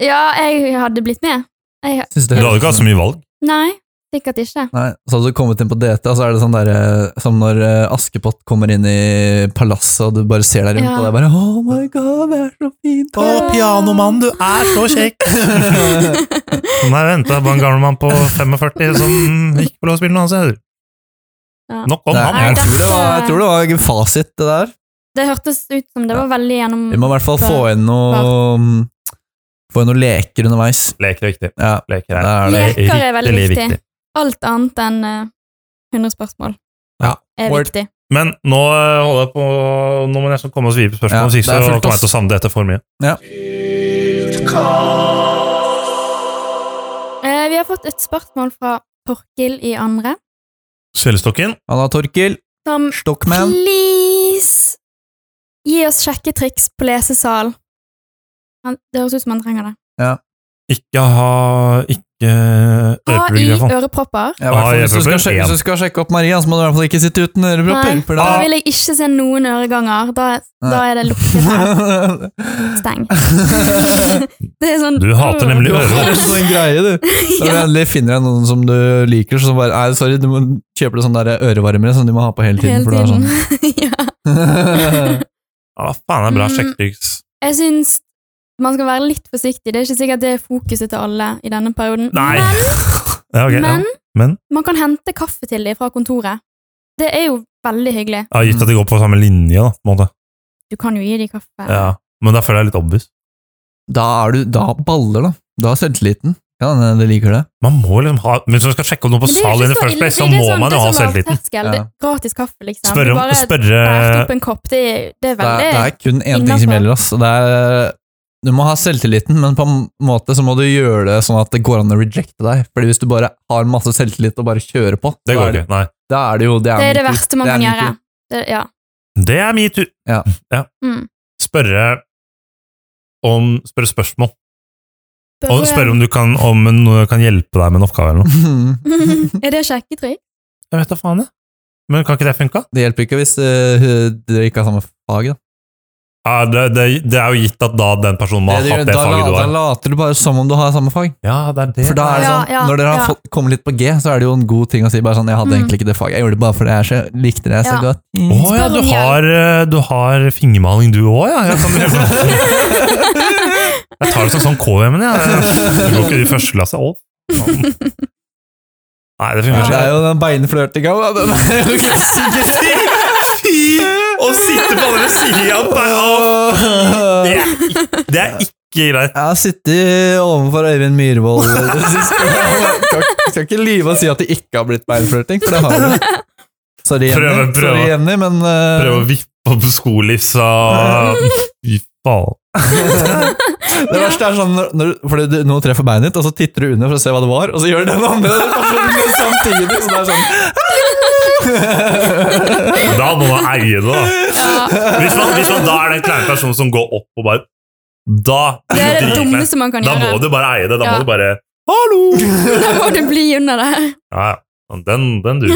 Speaker 1: Ja, jeg hadde blitt med. Jeg,
Speaker 2: Synes
Speaker 3: Du
Speaker 2: det
Speaker 3: hadde ikke hatt så mye valg.
Speaker 1: nei, sikkert ikke.
Speaker 2: Nei, så hadde du kommet inn på DT, og så er det sånn der, eh, som når eh, Askepott kommer inn i palasset, og du bare ser deg rundt,
Speaker 1: Ja.
Speaker 2: og det er bare Oh my god, det er så fint!
Speaker 3: pianomann,
Speaker 2: (laughs)
Speaker 3: du er så kjekk! Nei, vent, det var en gammel mann på 45 som ikke får lov å spille noe annet.
Speaker 1: Ja.
Speaker 3: Nok om
Speaker 2: Nei,
Speaker 3: ham.
Speaker 1: Nei,
Speaker 2: jeg, tror det var, jeg tror det var fasit, det der.
Speaker 1: Det hørtes ut som det var veldig gjennom...
Speaker 2: Vi må i hvert fall få inn noe Få inn noen leker underveis.
Speaker 3: Leker er viktig.
Speaker 2: Ja, det
Speaker 3: Leker er
Speaker 2: er det.
Speaker 1: Leker er veldig
Speaker 3: riktig
Speaker 1: viktig. Alt annet enn eh, 100 spørsmål
Speaker 2: Ja.
Speaker 1: er
Speaker 2: Word.
Speaker 1: viktig.
Speaker 3: Men nå eh, holder jeg på Nå må vi nesten komme oss videre på
Speaker 2: Ja,
Speaker 3: spørsmål, hvis
Speaker 2: det er
Speaker 3: ikke så
Speaker 2: fullt,
Speaker 3: kommer
Speaker 2: ass.
Speaker 3: jeg til å savne dette for mye.
Speaker 1: Eh, vi har fått et spørsmål fra Torkil i andre,
Speaker 3: Svelgestokken.
Speaker 2: Anna Torkil,
Speaker 1: som
Speaker 2: Stockman.
Speaker 1: please gi oss sjekketriks på lesesal. Han, det høres ut som han trenger det.
Speaker 3: Ikke ha Ikke
Speaker 1: Ha i
Speaker 3: ørepluger, i hvert fall.
Speaker 1: ørepropper.
Speaker 2: Ja, i hvert
Speaker 3: Ah,
Speaker 2: fall, hvis, du skal
Speaker 3: ørepropper,
Speaker 2: sjekke,
Speaker 3: en. Ah.
Speaker 2: hvis du skal sjekke opp Maria, så må du i hvert fall ikke sitte uten ørepropper.
Speaker 1: Nei,
Speaker 2: for
Speaker 1: Da
Speaker 2: da-
Speaker 1: vil jeg ikke se noen øreganger. Da,
Speaker 2: Nei.
Speaker 1: da er det lukket
Speaker 2: (laughs)
Speaker 1: her. Steng. det er sånn
Speaker 3: Du hater nemlig
Speaker 2: (laughs) Du
Speaker 3: ørehopp.
Speaker 2: har en sånn greie, du.
Speaker 1: (laughs)
Speaker 2: Så
Speaker 1: Ja.
Speaker 2: endelig finner jeg noen som du liker, så bare Nei, sorry, du må kjøpe deg sånne der ørevarmere som du må ha på hele tiden.
Speaker 1: Hele
Speaker 2: For det er
Speaker 1: tiden. ja.
Speaker 2: sånn.
Speaker 3: Ja, faen, det er bra
Speaker 1: Mm.
Speaker 3: sjekketriks.
Speaker 1: Jeg syns man skal være litt forsiktig. Det er ikke sikkert det er fokuset til alle i denne perioden.
Speaker 3: Nei. (laughs)
Speaker 1: Men,
Speaker 3: Ja, ok, ja.
Speaker 1: men,
Speaker 3: Men?
Speaker 1: man kan hente kaffe til dem fra kontoret. Det er jo veldig hyggelig.
Speaker 3: Ja, gitt at de går på samme linje, da, på en måte.
Speaker 1: Du kan jo gi dem kaffe.
Speaker 3: Ja. Men derfor er det litt obvious.
Speaker 2: (laughs) Da er du Da baller, da. Da er selvtilliten. Ja, nei, det liker det.
Speaker 3: Man må liksom ha Hvis man skal sjekke om noe på
Speaker 1: Men det er jo
Speaker 3: sal
Speaker 1: ikke
Speaker 3: in the
Speaker 1: så
Speaker 3: first
Speaker 1: ille.
Speaker 3: place, så
Speaker 1: Det er
Speaker 3: må
Speaker 1: sånn-
Speaker 3: man jo
Speaker 1: det er
Speaker 3: ha
Speaker 1: sånn
Speaker 3: selvtilliten.
Speaker 1: lavterskel. Det er Gratis kaffe, liksom.
Speaker 3: Spørre
Speaker 1: du
Speaker 3: om
Speaker 1: bare bærer
Speaker 3: Spørre
Speaker 1: opp en kopp. Det, er- det er
Speaker 2: Det er,
Speaker 1: veldig
Speaker 2: det er kun én ting som
Speaker 1: innenfor.
Speaker 2: gjelder, ass. og Det er, eh, du må ha selvtilliten, men på en måte så må du gjøre det sånn at det går an å rejecte deg. Fordi hvis du bare har masse selvtillit og bare kjører på,
Speaker 3: Det
Speaker 2: så
Speaker 3: går
Speaker 2: er
Speaker 3: ikke. Nei.
Speaker 2: Da er det jo Det er,
Speaker 1: det, er det
Speaker 2: metoo.
Speaker 1: verste man
Speaker 2: Det er
Speaker 1: kan
Speaker 2: metoo.
Speaker 1: gjøre. Det, ja.
Speaker 3: Det er min tur.
Speaker 2: Ja.
Speaker 1: Mm.
Speaker 3: Spørre om Spørre spørsmål. Og
Speaker 1: Bare-
Speaker 3: spørre om du kan, om noe kan hjelpe deg med en oppgave eller
Speaker 1: (laughs)
Speaker 3: noe.
Speaker 1: er det sjekketrykk?
Speaker 3: Jeg vet da faen, jeg. Men kan ikke det funke?
Speaker 2: (laughs) Det hjelper ikke hvis eh, hun- dere ikke har samme fag, da.
Speaker 3: Ja, det, det, det er jo gitt at da den personen må ha
Speaker 2: Det du gjør,
Speaker 3: hatt det
Speaker 2: da,
Speaker 3: faget du
Speaker 2: la- da
Speaker 3: har.
Speaker 2: later du bare som om du har samme fag.
Speaker 3: Ja, det er det.
Speaker 2: For da er det
Speaker 1: Ja,
Speaker 2: sånn,
Speaker 1: ja,
Speaker 2: Når dere har
Speaker 1: ja.
Speaker 2: fått, kommet litt på G, så er det jo en god ting å si bare sånn 'Jeg hadde
Speaker 1: Mm.
Speaker 2: egentlig ikke det faget, jeg gjorde det bare fordi jeg er så- likte det så
Speaker 1: Ja.
Speaker 2: godt'. Mm.
Speaker 3: Å ja,
Speaker 1: Spør
Speaker 3: du
Speaker 1: om hjelp.
Speaker 3: har, eh, du har fingermaling du òg, ja? Jeg, kan, jeg
Speaker 1: (laughs)
Speaker 3: tar det som sånn KM-en, jeg. Du går ikke i første klasse. Å, faen. Nei,
Speaker 2: Ja,
Speaker 3: det fungerer
Speaker 2: Det
Speaker 3: ikke.
Speaker 2: er jo den beinflørtinga, da. Den er jo ikke
Speaker 3: (laughs) Fy! Å sitte på andre siden
Speaker 2: Åh.
Speaker 3: Det er ikke- det er ikke greit.
Speaker 2: Jeg har sittet overfor Øyvind Myhrvold i det
Speaker 3: (laughs)
Speaker 2: siste. Jeg skal ikke lyve og si at det ikke har blitt beinflørting, for det har det. Sorry, Jenny,
Speaker 3: Prøve, prøve.
Speaker 2: Sorry, Jenny men eh,
Speaker 3: Prøve å vippe opp skolissa Fy faen.
Speaker 2: det verste er sånn når, når, Fordi du, noen treffer beinet ditt, og så titter du under for å se hva det var, og så gjør den andre det personen samtidig, så det er sånn
Speaker 3: Da må man eie det, da.
Speaker 1: Ja.
Speaker 3: Hvis man, hvis man da er den kleine personen som går opp og bare Da
Speaker 1: Det er
Speaker 3: (laughs)
Speaker 1: det dummeste man kan
Speaker 3: Da må
Speaker 1: gjøre.
Speaker 3: du bare eie det. Da
Speaker 1: Ja.
Speaker 3: må du bare Hallo!
Speaker 2: (laughs)
Speaker 1: Da må du bli under det.
Speaker 3: Ja, ja. Den, den duger.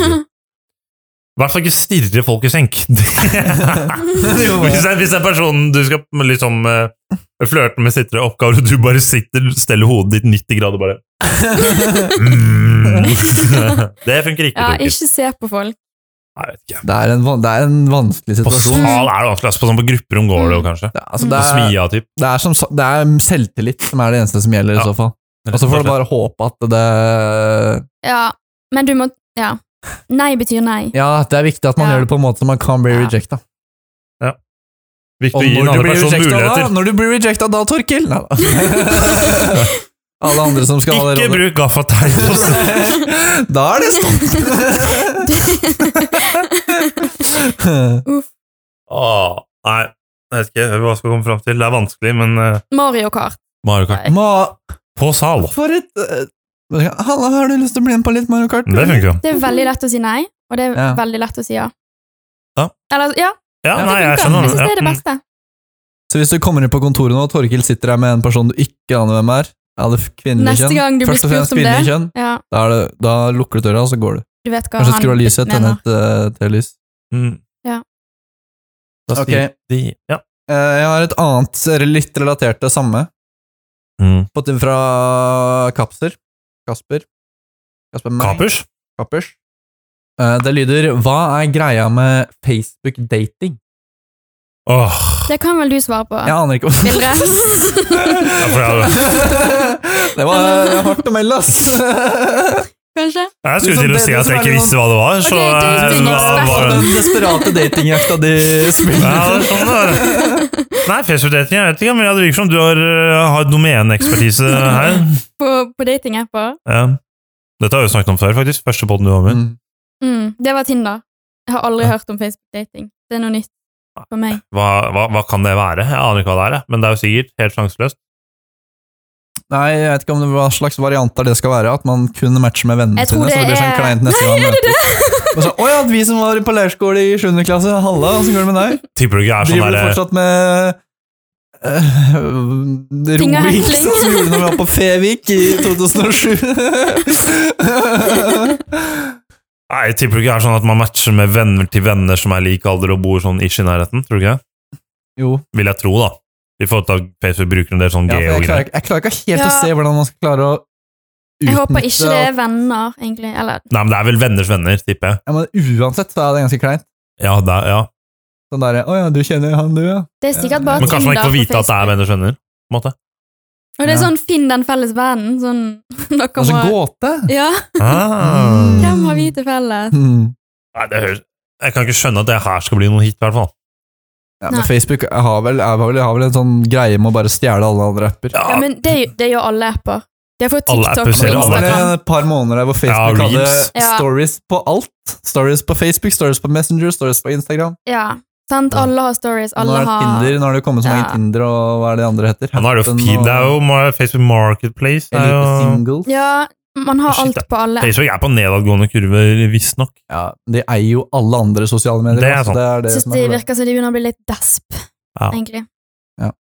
Speaker 3: I hvert fall ikke stirre folk i senk. (laughs) hvis, den, hvis den personen du skal liksom eh, flørte med, sitter i oppgave, og du bare sitter steller hodet ditt 90 grader
Speaker 2: (laughs)
Speaker 3: bare mm. (laughs) Det funker ikke.
Speaker 1: Ja,
Speaker 3: Torkil.
Speaker 1: ikke se på folk.
Speaker 3: Nei, jeg vet ikke.
Speaker 2: Det er en, van- det er en vanskelig
Speaker 3: På
Speaker 2: situasjon.
Speaker 3: sal er det vanskelig. altså, På, sånn, på grupperom går det jo kanskje.
Speaker 2: Det, er- altså,
Speaker 3: På
Speaker 2: det, er,
Speaker 3: smia, typ.
Speaker 2: det, er som, sa- det er selvtillit som er det eneste som gjelder,
Speaker 3: Ja.
Speaker 2: i så fall. Og så får du bare håpe at det
Speaker 1: Ja, men du må Ja. Nei betyr nei.
Speaker 2: Ja, det er viktig at man
Speaker 1: Ja.
Speaker 2: gjør det på en måte som man kan bli
Speaker 1: Ja.
Speaker 2: rejecta. Og
Speaker 3: Viktig å gi en
Speaker 2: når du
Speaker 3: annen
Speaker 2: blir
Speaker 3: person
Speaker 2: rejecta da,
Speaker 3: muligheter.
Speaker 2: når du blir rejecta da, Torkil! Nei da. Alle andre som skal ha det
Speaker 3: Ikke
Speaker 2: rådet.
Speaker 3: bruk gaffateip!
Speaker 2: (laughs)
Speaker 3: på s-
Speaker 2: Da er det sånn.
Speaker 1: (laughs)
Speaker 2: stopp!
Speaker 3: Åh, Nei, jeg vet ikke hva jeg skal komme fram til. Det er vanskelig, men eh,
Speaker 1: Mario Kart.
Speaker 3: Mario Kart
Speaker 2: Ma,
Speaker 3: på sal!
Speaker 2: for et eh, Halla, har du lyst til å bli med på litt Mario Kart?
Speaker 3: Det funker jo.
Speaker 1: Det er veldig lett å si nei, og det er
Speaker 2: Ja.
Speaker 1: veldig lett å si ja.
Speaker 3: Ja.
Speaker 1: Eller, ja,
Speaker 3: Ja,
Speaker 2: Ja, det
Speaker 3: nei, jeg
Speaker 1: funker.
Speaker 3: skjønner
Speaker 1: Jeg syns det er
Speaker 3: Ja,
Speaker 1: det
Speaker 3: mm.
Speaker 1: beste.
Speaker 2: Så hvis du kommer inn på kontoret nå, og Torkil sitter der med en person du ikke aner hvem er, ja, det er kvinnelig
Speaker 1: Neste
Speaker 2: kjønn,
Speaker 1: gang du blir
Speaker 2: først og fremst
Speaker 1: spurt om det,
Speaker 2: kvinnelig kjønn,
Speaker 1: ja,
Speaker 2: da, er det, da lukker du døra, og så går du.
Speaker 1: du vet hva
Speaker 2: Kanskje skru av
Speaker 1: han
Speaker 2: lyset, tenne
Speaker 1: mener.
Speaker 2: et eh, telys.
Speaker 3: Mm.
Speaker 1: Ja.
Speaker 3: Da sier
Speaker 2: Ok.
Speaker 3: de ja.
Speaker 2: Eh, Jeg har et annet eh, litt relatert til det samme.
Speaker 3: Mm.
Speaker 2: Fått inn fra Kapser. Kasper. Kasper Meier.
Speaker 3: Kapers?
Speaker 2: Kappers. Eh, Det lyder Hva er greia med Facebook-dating?
Speaker 3: Åh,
Speaker 1: Det kan vel du svare på,
Speaker 2: Jeg aner ikke om
Speaker 3: (laughs)
Speaker 1: Sildre?
Speaker 3: ja, for jeg,
Speaker 2: (laughs) Det var hardt å melde, ass!
Speaker 1: Kanskje?
Speaker 3: jeg skulle til å si at jeg ikke visste hva Liksom det var, så
Speaker 1: Ok,
Speaker 3: eh,
Speaker 1: dating
Speaker 3: hva
Speaker 1: expert.
Speaker 3: var det?
Speaker 2: Den desperate datingjakta de
Speaker 3: Ja,
Speaker 2: spiller.
Speaker 3: det er sånn, det. Nei, Facebook-dating, jeg vet ikke, men det virker som du har, eh, har domeneekspertise her.
Speaker 1: (laughs) På, på datingapper?
Speaker 3: Ja. Dette har vi jo snakket om før, faktisk. Første podden du var med. i.
Speaker 2: Mm.
Speaker 1: Mm, det var Tinder. Jeg har aldri hørt om Facebook-dating. Det er noe nytt for meg.
Speaker 2: Mm.
Speaker 3: Hva, hva, hva kan det være? Jeg aner ikke hva det er, jeg. men det er jo sikkert helt sjanseløst.
Speaker 2: Nei, jeg vet ikke om det, hva slags varianter det skal være. At man kun matcher med vennene
Speaker 1: Jeg tror
Speaker 2: sine. Så
Speaker 1: det
Speaker 2: det blir sånn
Speaker 1: er-
Speaker 2: kleint neste gang man møtes. Og så, Å ja, vi som var på leirskole i 7. klasse, halla, åssen går det med deg?
Speaker 3: Tipper du ikke er sånn
Speaker 2: Driver du
Speaker 3: derre
Speaker 2: fortsatt med (laughs) uh,
Speaker 1: Ting og
Speaker 2: roing
Speaker 1: hekling.
Speaker 2: som vi gjorde når vi var på Fevik
Speaker 1: (laughs)
Speaker 2: i 2007?
Speaker 3: Nei, tipper du ikke er sånn at man matcher med venner til venner som er lik alder og bor sånn ish i nærheten? Tror du ikke? det?
Speaker 2: jo.
Speaker 3: Vil jeg tro, da. I forhold til at Facebook bruker en del sånn
Speaker 2: Ja, for jeg, klarer,
Speaker 3: geo-greier.
Speaker 2: ikke- jeg klarer ikke helt å
Speaker 1: Ja.
Speaker 2: se hvordan man skal klare å utnytte
Speaker 1: Jeg håper ikke det
Speaker 2: at-
Speaker 1: er venner, egentlig. Eller
Speaker 3: Nei, men det er vel venners venner, tipper jeg.
Speaker 2: ja, men Uansett så er det ganske kleint.
Speaker 3: Ja, det er, ja.
Speaker 1: Altså,
Speaker 2: Sånn derre Å ja, du kjenner han du, ja?
Speaker 1: det er sikkert bare
Speaker 3: Men kanskje man
Speaker 1: Tinder
Speaker 3: ikke får
Speaker 1: på
Speaker 3: vite at det er
Speaker 1: Facebook.
Speaker 3: venners venner. På
Speaker 2: (laughs)
Speaker 3: en måte.
Speaker 1: Og det er
Speaker 2: Ja.
Speaker 1: sånn finn den felles vennen. Sånn (laughs) dere
Speaker 2: Kanskje
Speaker 1: må
Speaker 2: gåte?
Speaker 1: Ja,
Speaker 3: Ah.
Speaker 1: hvem har vi til
Speaker 2: (laughs)
Speaker 1: felles?
Speaker 2: Hmm.
Speaker 3: Nei, det høres Jeg kan ikke skjønne at det her skal bli noen hit, i hvert fall.
Speaker 2: Ja, men
Speaker 1: Nei.
Speaker 2: Facebook har vel, er vel, har vel en sånn greie med å bare stjele alle andre apper.
Speaker 3: Ja,
Speaker 1: Ja, men det, det gjør alle apper. De har fått
Speaker 3: Alle
Speaker 1: TikTok
Speaker 3: apper
Speaker 1: og
Speaker 3: selger
Speaker 2: Det var
Speaker 3: alle
Speaker 2: vel
Speaker 1: Instagram.
Speaker 2: et par måneder der hvor Facebook
Speaker 3: Ja,
Speaker 2: hadde
Speaker 3: Reels.
Speaker 1: Ja.
Speaker 2: stories på alt. Stories på Facebook, stories på Messenger, stories på Instagram.
Speaker 1: Ja, sant? Alle har stories,
Speaker 2: Og Nå
Speaker 1: alle
Speaker 2: er det
Speaker 1: har
Speaker 2: Tinder, nå har det kommet så mange
Speaker 1: Ja.
Speaker 2: Tinder, og hva er det de andre heter?
Speaker 3: Ja, nå er det jo
Speaker 2: Happen
Speaker 3: feed,
Speaker 2: og
Speaker 3: det er jo ma- Facebook Marketplace. Det er
Speaker 2: Elite
Speaker 3: jo,
Speaker 2: Singles.
Speaker 1: Ja, man har
Speaker 3: Shit,
Speaker 1: alt på alle.
Speaker 3: Facebook er på nedadgående kurver, visstnok.
Speaker 2: Ja, de eier jo alle andre sosiale medier.
Speaker 3: Det er
Speaker 2: altså,
Speaker 3: sant.
Speaker 2: det er det
Speaker 1: Jeg syns
Speaker 2: som er
Speaker 1: det
Speaker 2: problemet.
Speaker 1: virker som de begynner å bli litt desp,
Speaker 3: Ja.
Speaker 1: egentlig.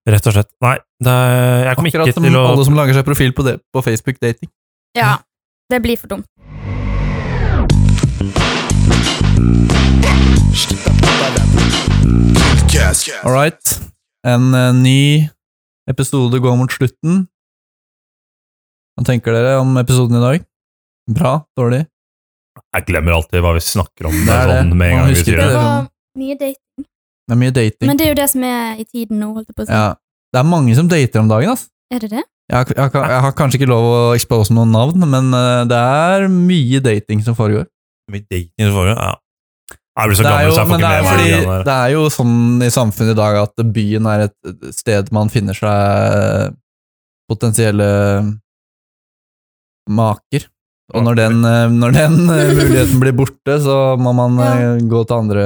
Speaker 3: Rett og slett. Nei, det er, jeg kom ikke
Speaker 2: Akkurat som
Speaker 3: til å
Speaker 2: alle som lager seg profil på, det, på Facebook dating.
Speaker 1: Ja, det blir for dumt.
Speaker 2: All right. En eh, ny episode går mot slutten. Hva tenker dere om episoden i dag? Bra? Dårlig?
Speaker 3: Jeg glemmer alltid hva vi snakker om.
Speaker 2: Det er det.
Speaker 3: Sånn, med en
Speaker 2: Man
Speaker 3: gang vi
Speaker 2: husker
Speaker 3: sier
Speaker 1: Det
Speaker 2: ikke
Speaker 3: det.
Speaker 2: er
Speaker 1: var
Speaker 2: sånn-
Speaker 1: mye date.
Speaker 2: Det er mye dating.
Speaker 1: Men det er jo det som er i tiden nå, holdt jeg på å si.
Speaker 2: Ja. Det er mange som dater om dagen, ass.
Speaker 1: Er det det?
Speaker 2: Jeg, har- jeg, har- jeg har kanskje ikke lov å expose noen navn, men eh, det er mye dating som foregår.
Speaker 3: Med dating så får du- ja. Jeg blir så
Speaker 2: Det er
Speaker 3: gammel,
Speaker 2: jo,
Speaker 3: så jeg får
Speaker 2: men det
Speaker 3: ikke
Speaker 2: er,
Speaker 3: med meg de
Speaker 2: fordi,
Speaker 3: greiene der.
Speaker 2: det er jo sånn i samfunnet i dag at byen er et sted man finner seg eh, potensielle maker. Og når den, eh, når den eh, muligheten blir borte, så må man eh, gå til andre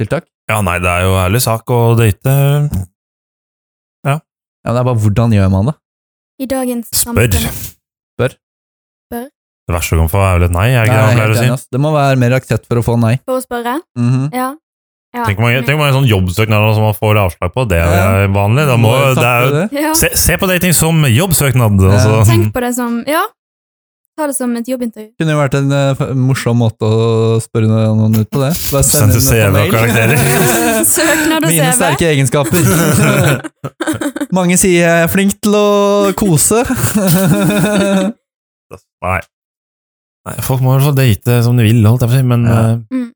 Speaker 2: tiltak.
Speaker 3: Ja, nei, det er jo ærlig sak å date.
Speaker 2: Ja, men det er bare hvordan gjør man det?
Speaker 1: I dagens
Speaker 3: Spør.
Speaker 2: Spør.
Speaker 1: Spør.
Speaker 3: Det verste du kan få, er vel et nei. Er
Speaker 2: Det,
Speaker 3: ikke det
Speaker 2: er
Speaker 3: han
Speaker 2: helt
Speaker 3: pleier å
Speaker 2: enig,
Speaker 3: si?
Speaker 2: ass. det må være mer aksept for å få nei.
Speaker 1: For å spørre?
Speaker 2: Mhm.
Speaker 1: Ja. ja.
Speaker 3: Tenk hvor mange, tenk hvor mange sånne jobbsøknader som man får avslag på. Det er vanlig. Da må, det er, jo-
Speaker 1: Ja.
Speaker 3: se, se på dating som jobbsøknad.
Speaker 2: Ja.
Speaker 3: Altså.
Speaker 1: Tenk på det som Ja, ta det som et
Speaker 2: (laughs)
Speaker 1: jobbintervju.
Speaker 2: Det kunne jo vært en eh, f- morsom måte å spørre noen ut på det. Bare
Speaker 3: (laughs) Send til CV og
Speaker 2: (laughs)
Speaker 3: karakterer.
Speaker 1: Søknad og
Speaker 2: Mine
Speaker 1: CV.
Speaker 2: sterke
Speaker 1: (laughs)
Speaker 2: egenskaper. Mange sier jeg er flink til å kose.
Speaker 3: Nei. Nei, folk må i hvert fall date som de vil, holdt jeg på å si, men
Speaker 2: Ja.
Speaker 3: eh,
Speaker 1: Mm.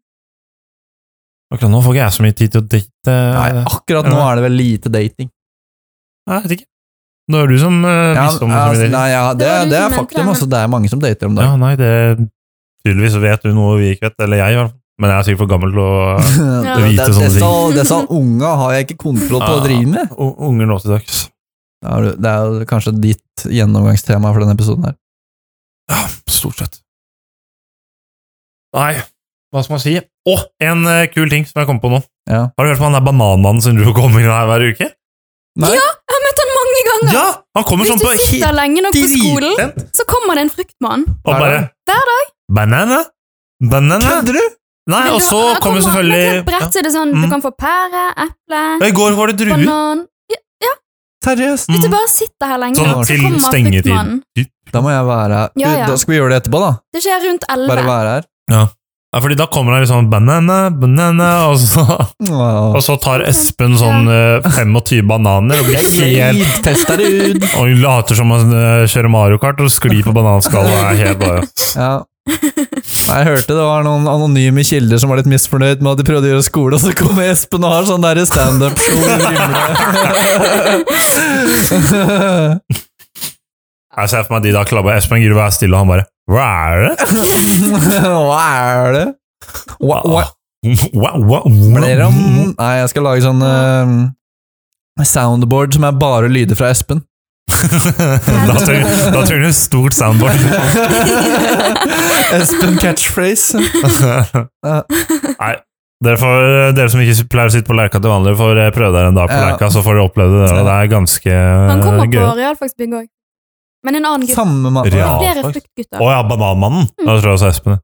Speaker 3: akkurat nå får ikke jeg så mye tid til å date.
Speaker 2: Nei, akkurat nå er det vel lite dating.
Speaker 3: Nei, jeg vet ikke. Nå er det du som uh,
Speaker 2: Ja,
Speaker 3: visste om det.
Speaker 2: altså,
Speaker 3: som
Speaker 2: nei, ja, det,
Speaker 1: Det var du
Speaker 2: det er
Speaker 1: som mente det,
Speaker 2: faktum.
Speaker 1: men-
Speaker 3: (laughs)
Speaker 2: Altså, det er mange som dater om
Speaker 3: ja,
Speaker 2: dagen.
Speaker 3: nei, det Tydeligvis vet du noe vi ikke vet, eller jeg i hvert fall. Men jeg er sikkert for gammel (laughs) til å
Speaker 1: Ja.
Speaker 2: Det-
Speaker 3: Vite sånne
Speaker 2: disse-
Speaker 1: ting.
Speaker 2: Disse unga har jeg ikke kontroll på å
Speaker 3: Ah.
Speaker 2: drive med.
Speaker 3: U- Unger nå til dags.
Speaker 2: Det er, jo- det er jo kanskje ditt gjennomgangstema for denne episoden her.
Speaker 3: Ja, stort sett. Nei, hva skal man si? Å, en eh, kul ting som jeg kom på nå.
Speaker 2: Ja.
Speaker 3: Har du hørt om han der bananmannen som driver og kommer inn her hver uke?
Speaker 2: Nei,
Speaker 1: Jeg har møtt han mange ganger!
Speaker 3: Ja! Han kommer
Speaker 1: Hvis
Speaker 3: sånn
Speaker 1: du
Speaker 3: på
Speaker 1: sitter lenge nok på skolen,
Speaker 3: dritsent
Speaker 1: så kommer det en fruktmann.
Speaker 3: og
Speaker 2: Hver
Speaker 3: bare
Speaker 2: dag.
Speaker 1: Hver
Speaker 3: dag. Banana? Banana?
Speaker 2: kødder du?!
Speaker 3: Nei,
Speaker 1: Men
Speaker 3: og
Speaker 1: da-
Speaker 3: så
Speaker 1: her
Speaker 3: kommer
Speaker 1: På et
Speaker 3: selvfølgelig
Speaker 1: brett så er det sånn, du
Speaker 3: Mm.
Speaker 1: kan få pære,
Speaker 3: ja,
Speaker 1: eple,
Speaker 3: I går var det druer.
Speaker 1: banan ja,
Speaker 2: Seriøst!
Speaker 1: Hvis du
Speaker 3: Mm.
Speaker 1: bare sitter her lenge
Speaker 3: Sånn
Speaker 1: nok, så
Speaker 3: til
Speaker 1: kommer
Speaker 3: stengetid.
Speaker 1: fruktmannen.
Speaker 2: Da må jeg være her.
Speaker 1: Ja, ja.
Speaker 2: Da skal vi gjøre det etterpå, da.
Speaker 1: Det skjer rundt
Speaker 2: Bare
Speaker 1: elleve.
Speaker 2: være her.
Speaker 3: Ja, fordi da kommer han liksom banana, banana, og så,
Speaker 2: Åh.
Speaker 3: og så tar Espen sånn eh, 25 bananer og blir helt
Speaker 2: Jeg tester det ut!
Speaker 3: Og hun later som han eh, kjører Mario Kart og sklir på bananskallet. og er helt bare
Speaker 2: Ja. Jeg hørte det var noen anonyme kilder som var litt misfornøyd med at de prøvde å gjøre skole, og så kom Espen og har sånn derre standup-show i vrimle.
Speaker 3: Jeg ser for meg de da klabba Espen Gyrve er stille, og han bare Hva er det?
Speaker 2: (laughs) Hva er det? Hva, hva,
Speaker 3: Ah. Hva, hva,
Speaker 2: Blir det
Speaker 3: hva?
Speaker 2: om Nei, jeg skal lage sånn eh, soundboard som er bare lyder fra Espen.
Speaker 3: (laughs)
Speaker 2: (laughs)
Speaker 3: Da trenger da trenger du et stort
Speaker 1: (laughs)
Speaker 3: soundboard.
Speaker 2: Espen catchphrase.
Speaker 3: Nei, dere, får, eh, dere som ikke pleier å sitte på Lerka til vanlig, får eh, prøve dere en dag på
Speaker 2: Ja.
Speaker 3: Lerka, så får dere oppleve det. der, Og det er ganske
Speaker 1: Han kommer
Speaker 3: Eh, gøy.
Speaker 1: på realfagsbygget òg. Men en annen gutt.
Speaker 2: Samme mann.
Speaker 3: Ja,
Speaker 1: Flere
Speaker 3: faktisk.
Speaker 1: fruktgutter.
Speaker 3: Å ja, Bananmannen.
Speaker 1: Mm.
Speaker 3: Da tror jeg også Espen.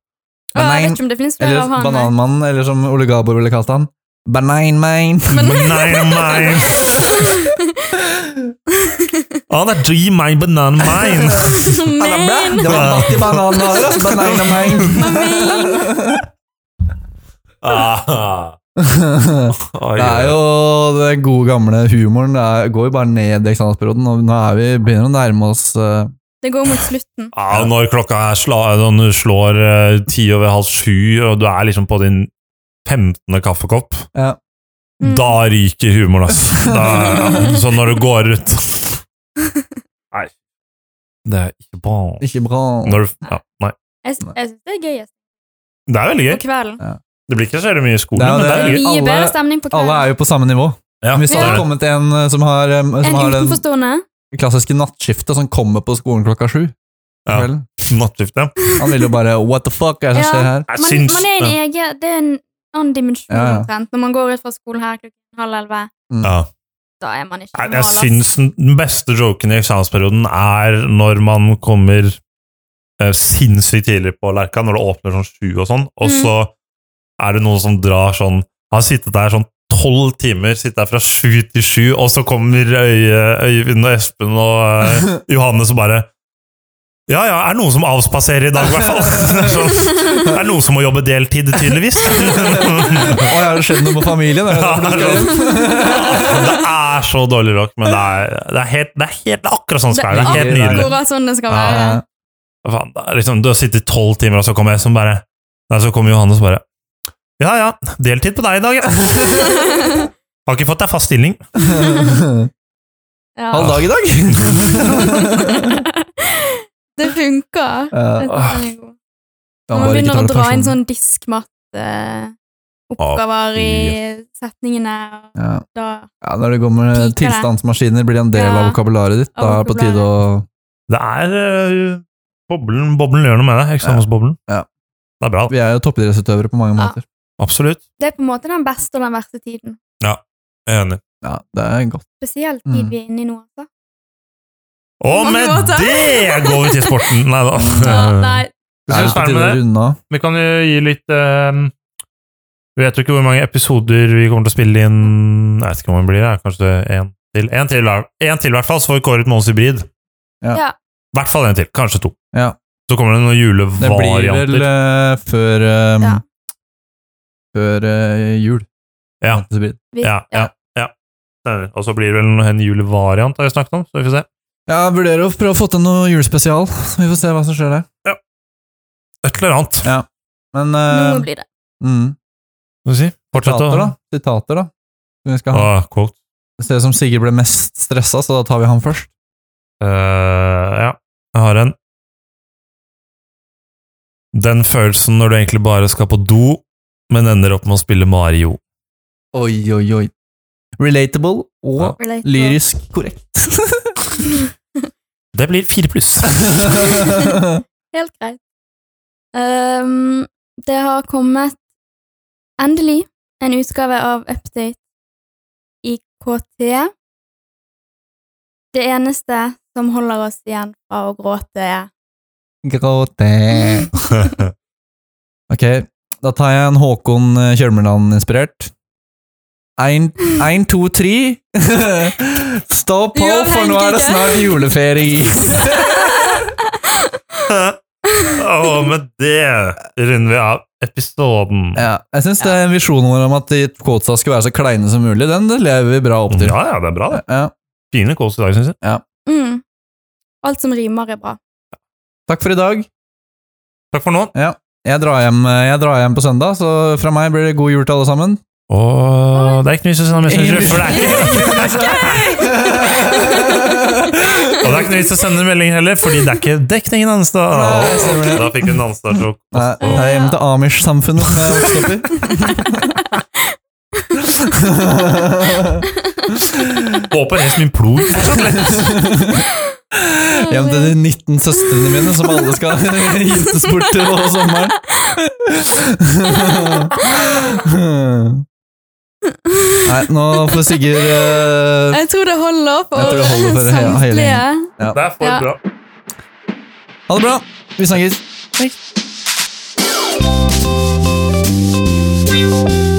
Speaker 1: Å, jeg
Speaker 2: Banan-
Speaker 1: vet ikke om det finnes flere
Speaker 2: Eller
Speaker 1: av han. eh. (laughs)
Speaker 2: (laughs) Bananmannen, eller som Ole Gabor ville kalt han. Bananman.
Speaker 3: Banan mine. Å, Ah, det er dream mine, banan mine.
Speaker 1: Men,
Speaker 2: Det var natt i bananhåret. Bananman.
Speaker 3: Ah. Oi,
Speaker 2: Det er jo den gode gamle humoren. Det er, går jo bare ned i eksamensperioden. og Nå er vi, begynner vi å nærme oss eh,
Speaker 1: det går mot slutten.
Speaker 3: Ja, og Ah, når klokka er sla, når du slår eh, ti over halv sju, og du er liksom på din 15. kaffekopp,
Speaker 2: Ja.
Speaker 1: Mm.
Speaker 3: da ryker humoren, ass. Da, så når du går ut Nei. Det er ikke bra.
Speaker 2: Ikke bra.
Speaker 3: Når du, ja, nei.
Speaker 1: Jeg, s- jeg syns det er gøyest
Speaker 3: Det er veldig
Speaker 1: på
Speaker 3: gøy.
Speaker 1: kvelden.
Speaker 3: Det blir ikke så veldig mye i skolen,
Speaker 2: Det er jo
Speaker 3: men det
Speaker 1: Det
Speaker 3: er
Speaker 1: er
Speaker 3: veldig gøy.
Speaker 1: mye
Speaker 2: Alle-
Speaker 1: bedre stemning på
Speaker 2: Alle
Speaker 1: kvelden.
Speaker 2: er jo på samme nivå.
Speaker 3: Ja,
Speaker 2: Hvis det
Speaker 3: det er
Speaker 2: hadde
Speaker 3: det.
Speaker 2: kommet en eh, som har, eh, som
Speaker 1: En
Speaker 2: har den
Speaker 1: utenforstående.
Speaker 2: klassiske nattskiftet som kommer på skolen klokka sju på
Speaker 3: Ja.
Speaker 2: kvelden.
Speaker 3: nattskiftet.
Speaker 2: Han ville jo bare What the fuck er det
Speaker 1: Ja.
Speaker 2: som skjer her?
Speaker 3: Jeg
Speaker 1: Man,
Speaker 3: syns
Speaker 1: man er i en
Speaker 3: ja.
Speaker 1: egen Det er en annen dimensjon
Speaker 2: Ja, Mm. ja.
Speaker 1: omtrent. Når man går ut fra skolen her klokken halv elleve,
Speaker 3: Ja.
Speaker 1: da er man ikke
Speaker 3: Nei,
Speaker 1: normal,
Speaker 3: Jeg
Speaker 1: ass.
Speaker 3: syns den- den beste joken i eksamensperioden er når man kommer eh, sinnssykt tidlig på Lerka, når det åpner sånn sju og sånn, og
Speaker 1: Mm.
Speaker 3: så er det noen som drar sånn Har sittet der sånn tolv timer, sittet der fra sju til sju, og så kommer Øye- Øyvind og Espen og eh, Johanne som bare ja, ja, er det noen som avspaserer i dag, i hvert fall? (laughs) Det er sånn, det er noen som må jobbe deltid, tydeligvis.
Speaker 2: Å, har det skjedd noe med familien? Er det
Speaker 3: Ja,
Speaker 2: derfor du
Speaker 3: det er
Speaker 2: skal hjem?
Speaker 3: Det er så dårlig rock, men det er, det er, helt, det er, helt, det er akkurat sånn det skal være. Det er helt nydelig.
Speaker 1: Akkurat sånn det skal
Speaker 3: Ja,
Speaker 1: være.
Speaker 2: Eh,
Speaker 3: Hva faen, det er liksom, du har sittet i tolv timer, og så kommer jeg som bare Nei, så kommer Johannes bare Ja ja, deltid på deg i dag, ja. (laughs) Har ikke fått deg fast stilling.
Speaker 1: (laughs) (laughs) Ja.
Speaker 2: Halv dag i dag?
Speaker 1: (laughs) det funker.
Speaker 2: Eh,
Speaker 1: Jeg tror den er god.
Speaker 2: da
Speaker 1: Når
Speaker 2: bare
Speaker 1: man begynner å
Speaker 2: ikke ta det
Speaker 1: dra inn
Speaker 2: personlig.
Speaker 1: sånn diskmatte-oppgaver i setningene, og
Speaker 2: ja.
Speaker 1: da
Speaker 2: ja, Når det kommer
Speaker 1: Piker det.
Speaker 2: tilstandsmaskiner, blir det en del
Speaker 1: Ja.
Speaker 2: av vokabularet ditt. Da er det på tide å
Speaker 3: Det er øh, boblen, boblen gjør noe med deg. Eksamensboblen.
Speaker 2: Ja.
Speaker 3: Det er bra.
Speaker 2: Vi er jo toppidrettsutøvere på mange
Speaker 1: Ja.
Speaker 2: måter.
Speaker 3: Absolutt.
Speaker 1: Det er på en måte den beste og den verste tiden.
Speaker 3: Jeg er enig.
Speaker 2: Ja, det er godt.
Speaker 1: Spesielt tid
Speaker 2: Mm.
Speaker 1: vi er inne i nå.
Speaker 3: (laughs)
Speaker 1: altså.
Speaker 3: Og
Speaker 1: mange
Speaker 3: med
Speaker 1: måter.
Speaker 3: det går vi til sporten! Nei da.
Speaker 1: Ja, nei,
Speaker 3: Vi
Speaker 2: Er det
Speaker 3: skal
Speaker 2: på
Speaker 3: ferdig
Speaker 2: tide å
Speaker 3: med det.
Speaker 2: runde av?
Speaker 3: Vi kan jo gi litt øh, Vi vet jo ikke hvor mange episoder vi kommer til å spille inn. Jeg vet ikke hvor mange blir det. Kanskje én til? Én til, en til i hvert fall, så får vi kåret Månens hybrid.
Speaker 1: ja.
Speaker 3: I hvert fall en til, kanskje to.
Speaker 2: Ja.
Speaker 3: Så kommer det noen
Speaker 2: Det blir vel
Speaker 3: julevarianter.
Speaker 2: eh, før eh,
Speaker 1: Ja.
Speaker 2: Før eh, jul.
Speaker 3: Ja.
Speaker 2: Så blir det.
Speaker 1: Vi,
Speaker 3: Ja, ja, ja. Stemmer. Og så blir det vel en julevariant, har vi snakket om. Så vi får se.
Speaker 2: Ja, jeg vurderer å prøve å få til noe julespesial. (laughs) Vi får se hva som skjer der.
Speaker 3: Et eller annet.
Speaker 2: Ja. Men eh,
Speaker 1: Nå blir det.
Speaker 2: mm,
Speaker 3: Skal vi si. Fortsett
Speaker 2: sitater,
Speaker 3: å
Speaker 2: da. Sitater, da. Som vi skal ha.
Speaker 3: ah, quote.
Speaker 2: Det ser ut som Sigurd ble mest stressa, så da tar vi han først.
Speaker 3: Eh, ja, jeg har en. Den følelsen når du egentlig bare skal på do, men ender opp med å spille Mario.
Speaker 2: Oi, oi, oi. Relatable og
Speaker 3: Ja.
Speaker 1: Relate.
Speaker 2: lyrisk korrekt.
Speaker 1: (laughs)
Speaker 2: (laughs)
Speaker 3: Det blir fire pluss.
Speaker 1: Helt greit. Ehm, det har kommet endelig en utgave av Update i KT. Det eneste som holder oss igjen fra å gråte,
Speaker 2: (laughs)
Speaker 1: er
Speaker 2: Gråte. Ok, da tar jeg en Håkon eh, Kjølmerland-inspirert. Ein, ein, to, tre. (laughs) Stå på,
Speaker 1: Gjør det
Speaker 2: for nå er det
Speaker 1: enkelt, ja.
Speaker 2: snart juleferie.
Speaker 3: Og med det runder vi av episoden.
Speaker 2: Ja, jeg syns visjonen vår om at de quotesa skulle være så kleine som mulig, den lever vi bra opp til.
Speaker 3: Ja, ja, det er bra, det.
Speaker 2: Ja.
Speaker 3: Fine kås i dag, syns jeg.
Speaker 1: mm. Alt som rimer, er bra.
Speaker 2: Takk for i dag.
Speaker 3: Takk for nå.
Speaker 2: Jeg drar, hjem, eh, jeg drar hjem på søndag, så fra meg blir det god jul til alle sammen.
Speaker 3: Og det er ikke noe vits i å sende meldinger, for det er ikke (laughs) Og det er ikke noe vits i å sende melding heller, fordi det er ikke dekning i
Speaker 2: Nei,
Speaker 3: Nanstad.
Speaker 2: stemmer det.
Speaker 3: Da fikk vi Nanstad-sjokk.
Speaker 2: Nei, Jeg er hjemme til Amish-samfunnet. når jeg vokser opp
Speaker 3: Håper resten min plog fortsatt lever.
Speaker 2: i. Hjem til de 19 søstrene mine, som alle skal (laughs) giftes bort til på sommeren. Nei, nå får Sigurd eh,
Speaker 1: Jeg tror det holder
Speaker 2: Jeg tror
Speaker 1: for
Speaker 2: det holder for hele- hele
Speaker 1: samtlige.
Speaker 2: gjengen.
Speaker 3: Det er for
Speaker 1: Ja.
Speaker 3: bra.
Speaker 2: Ha det bra! Vi snakkes.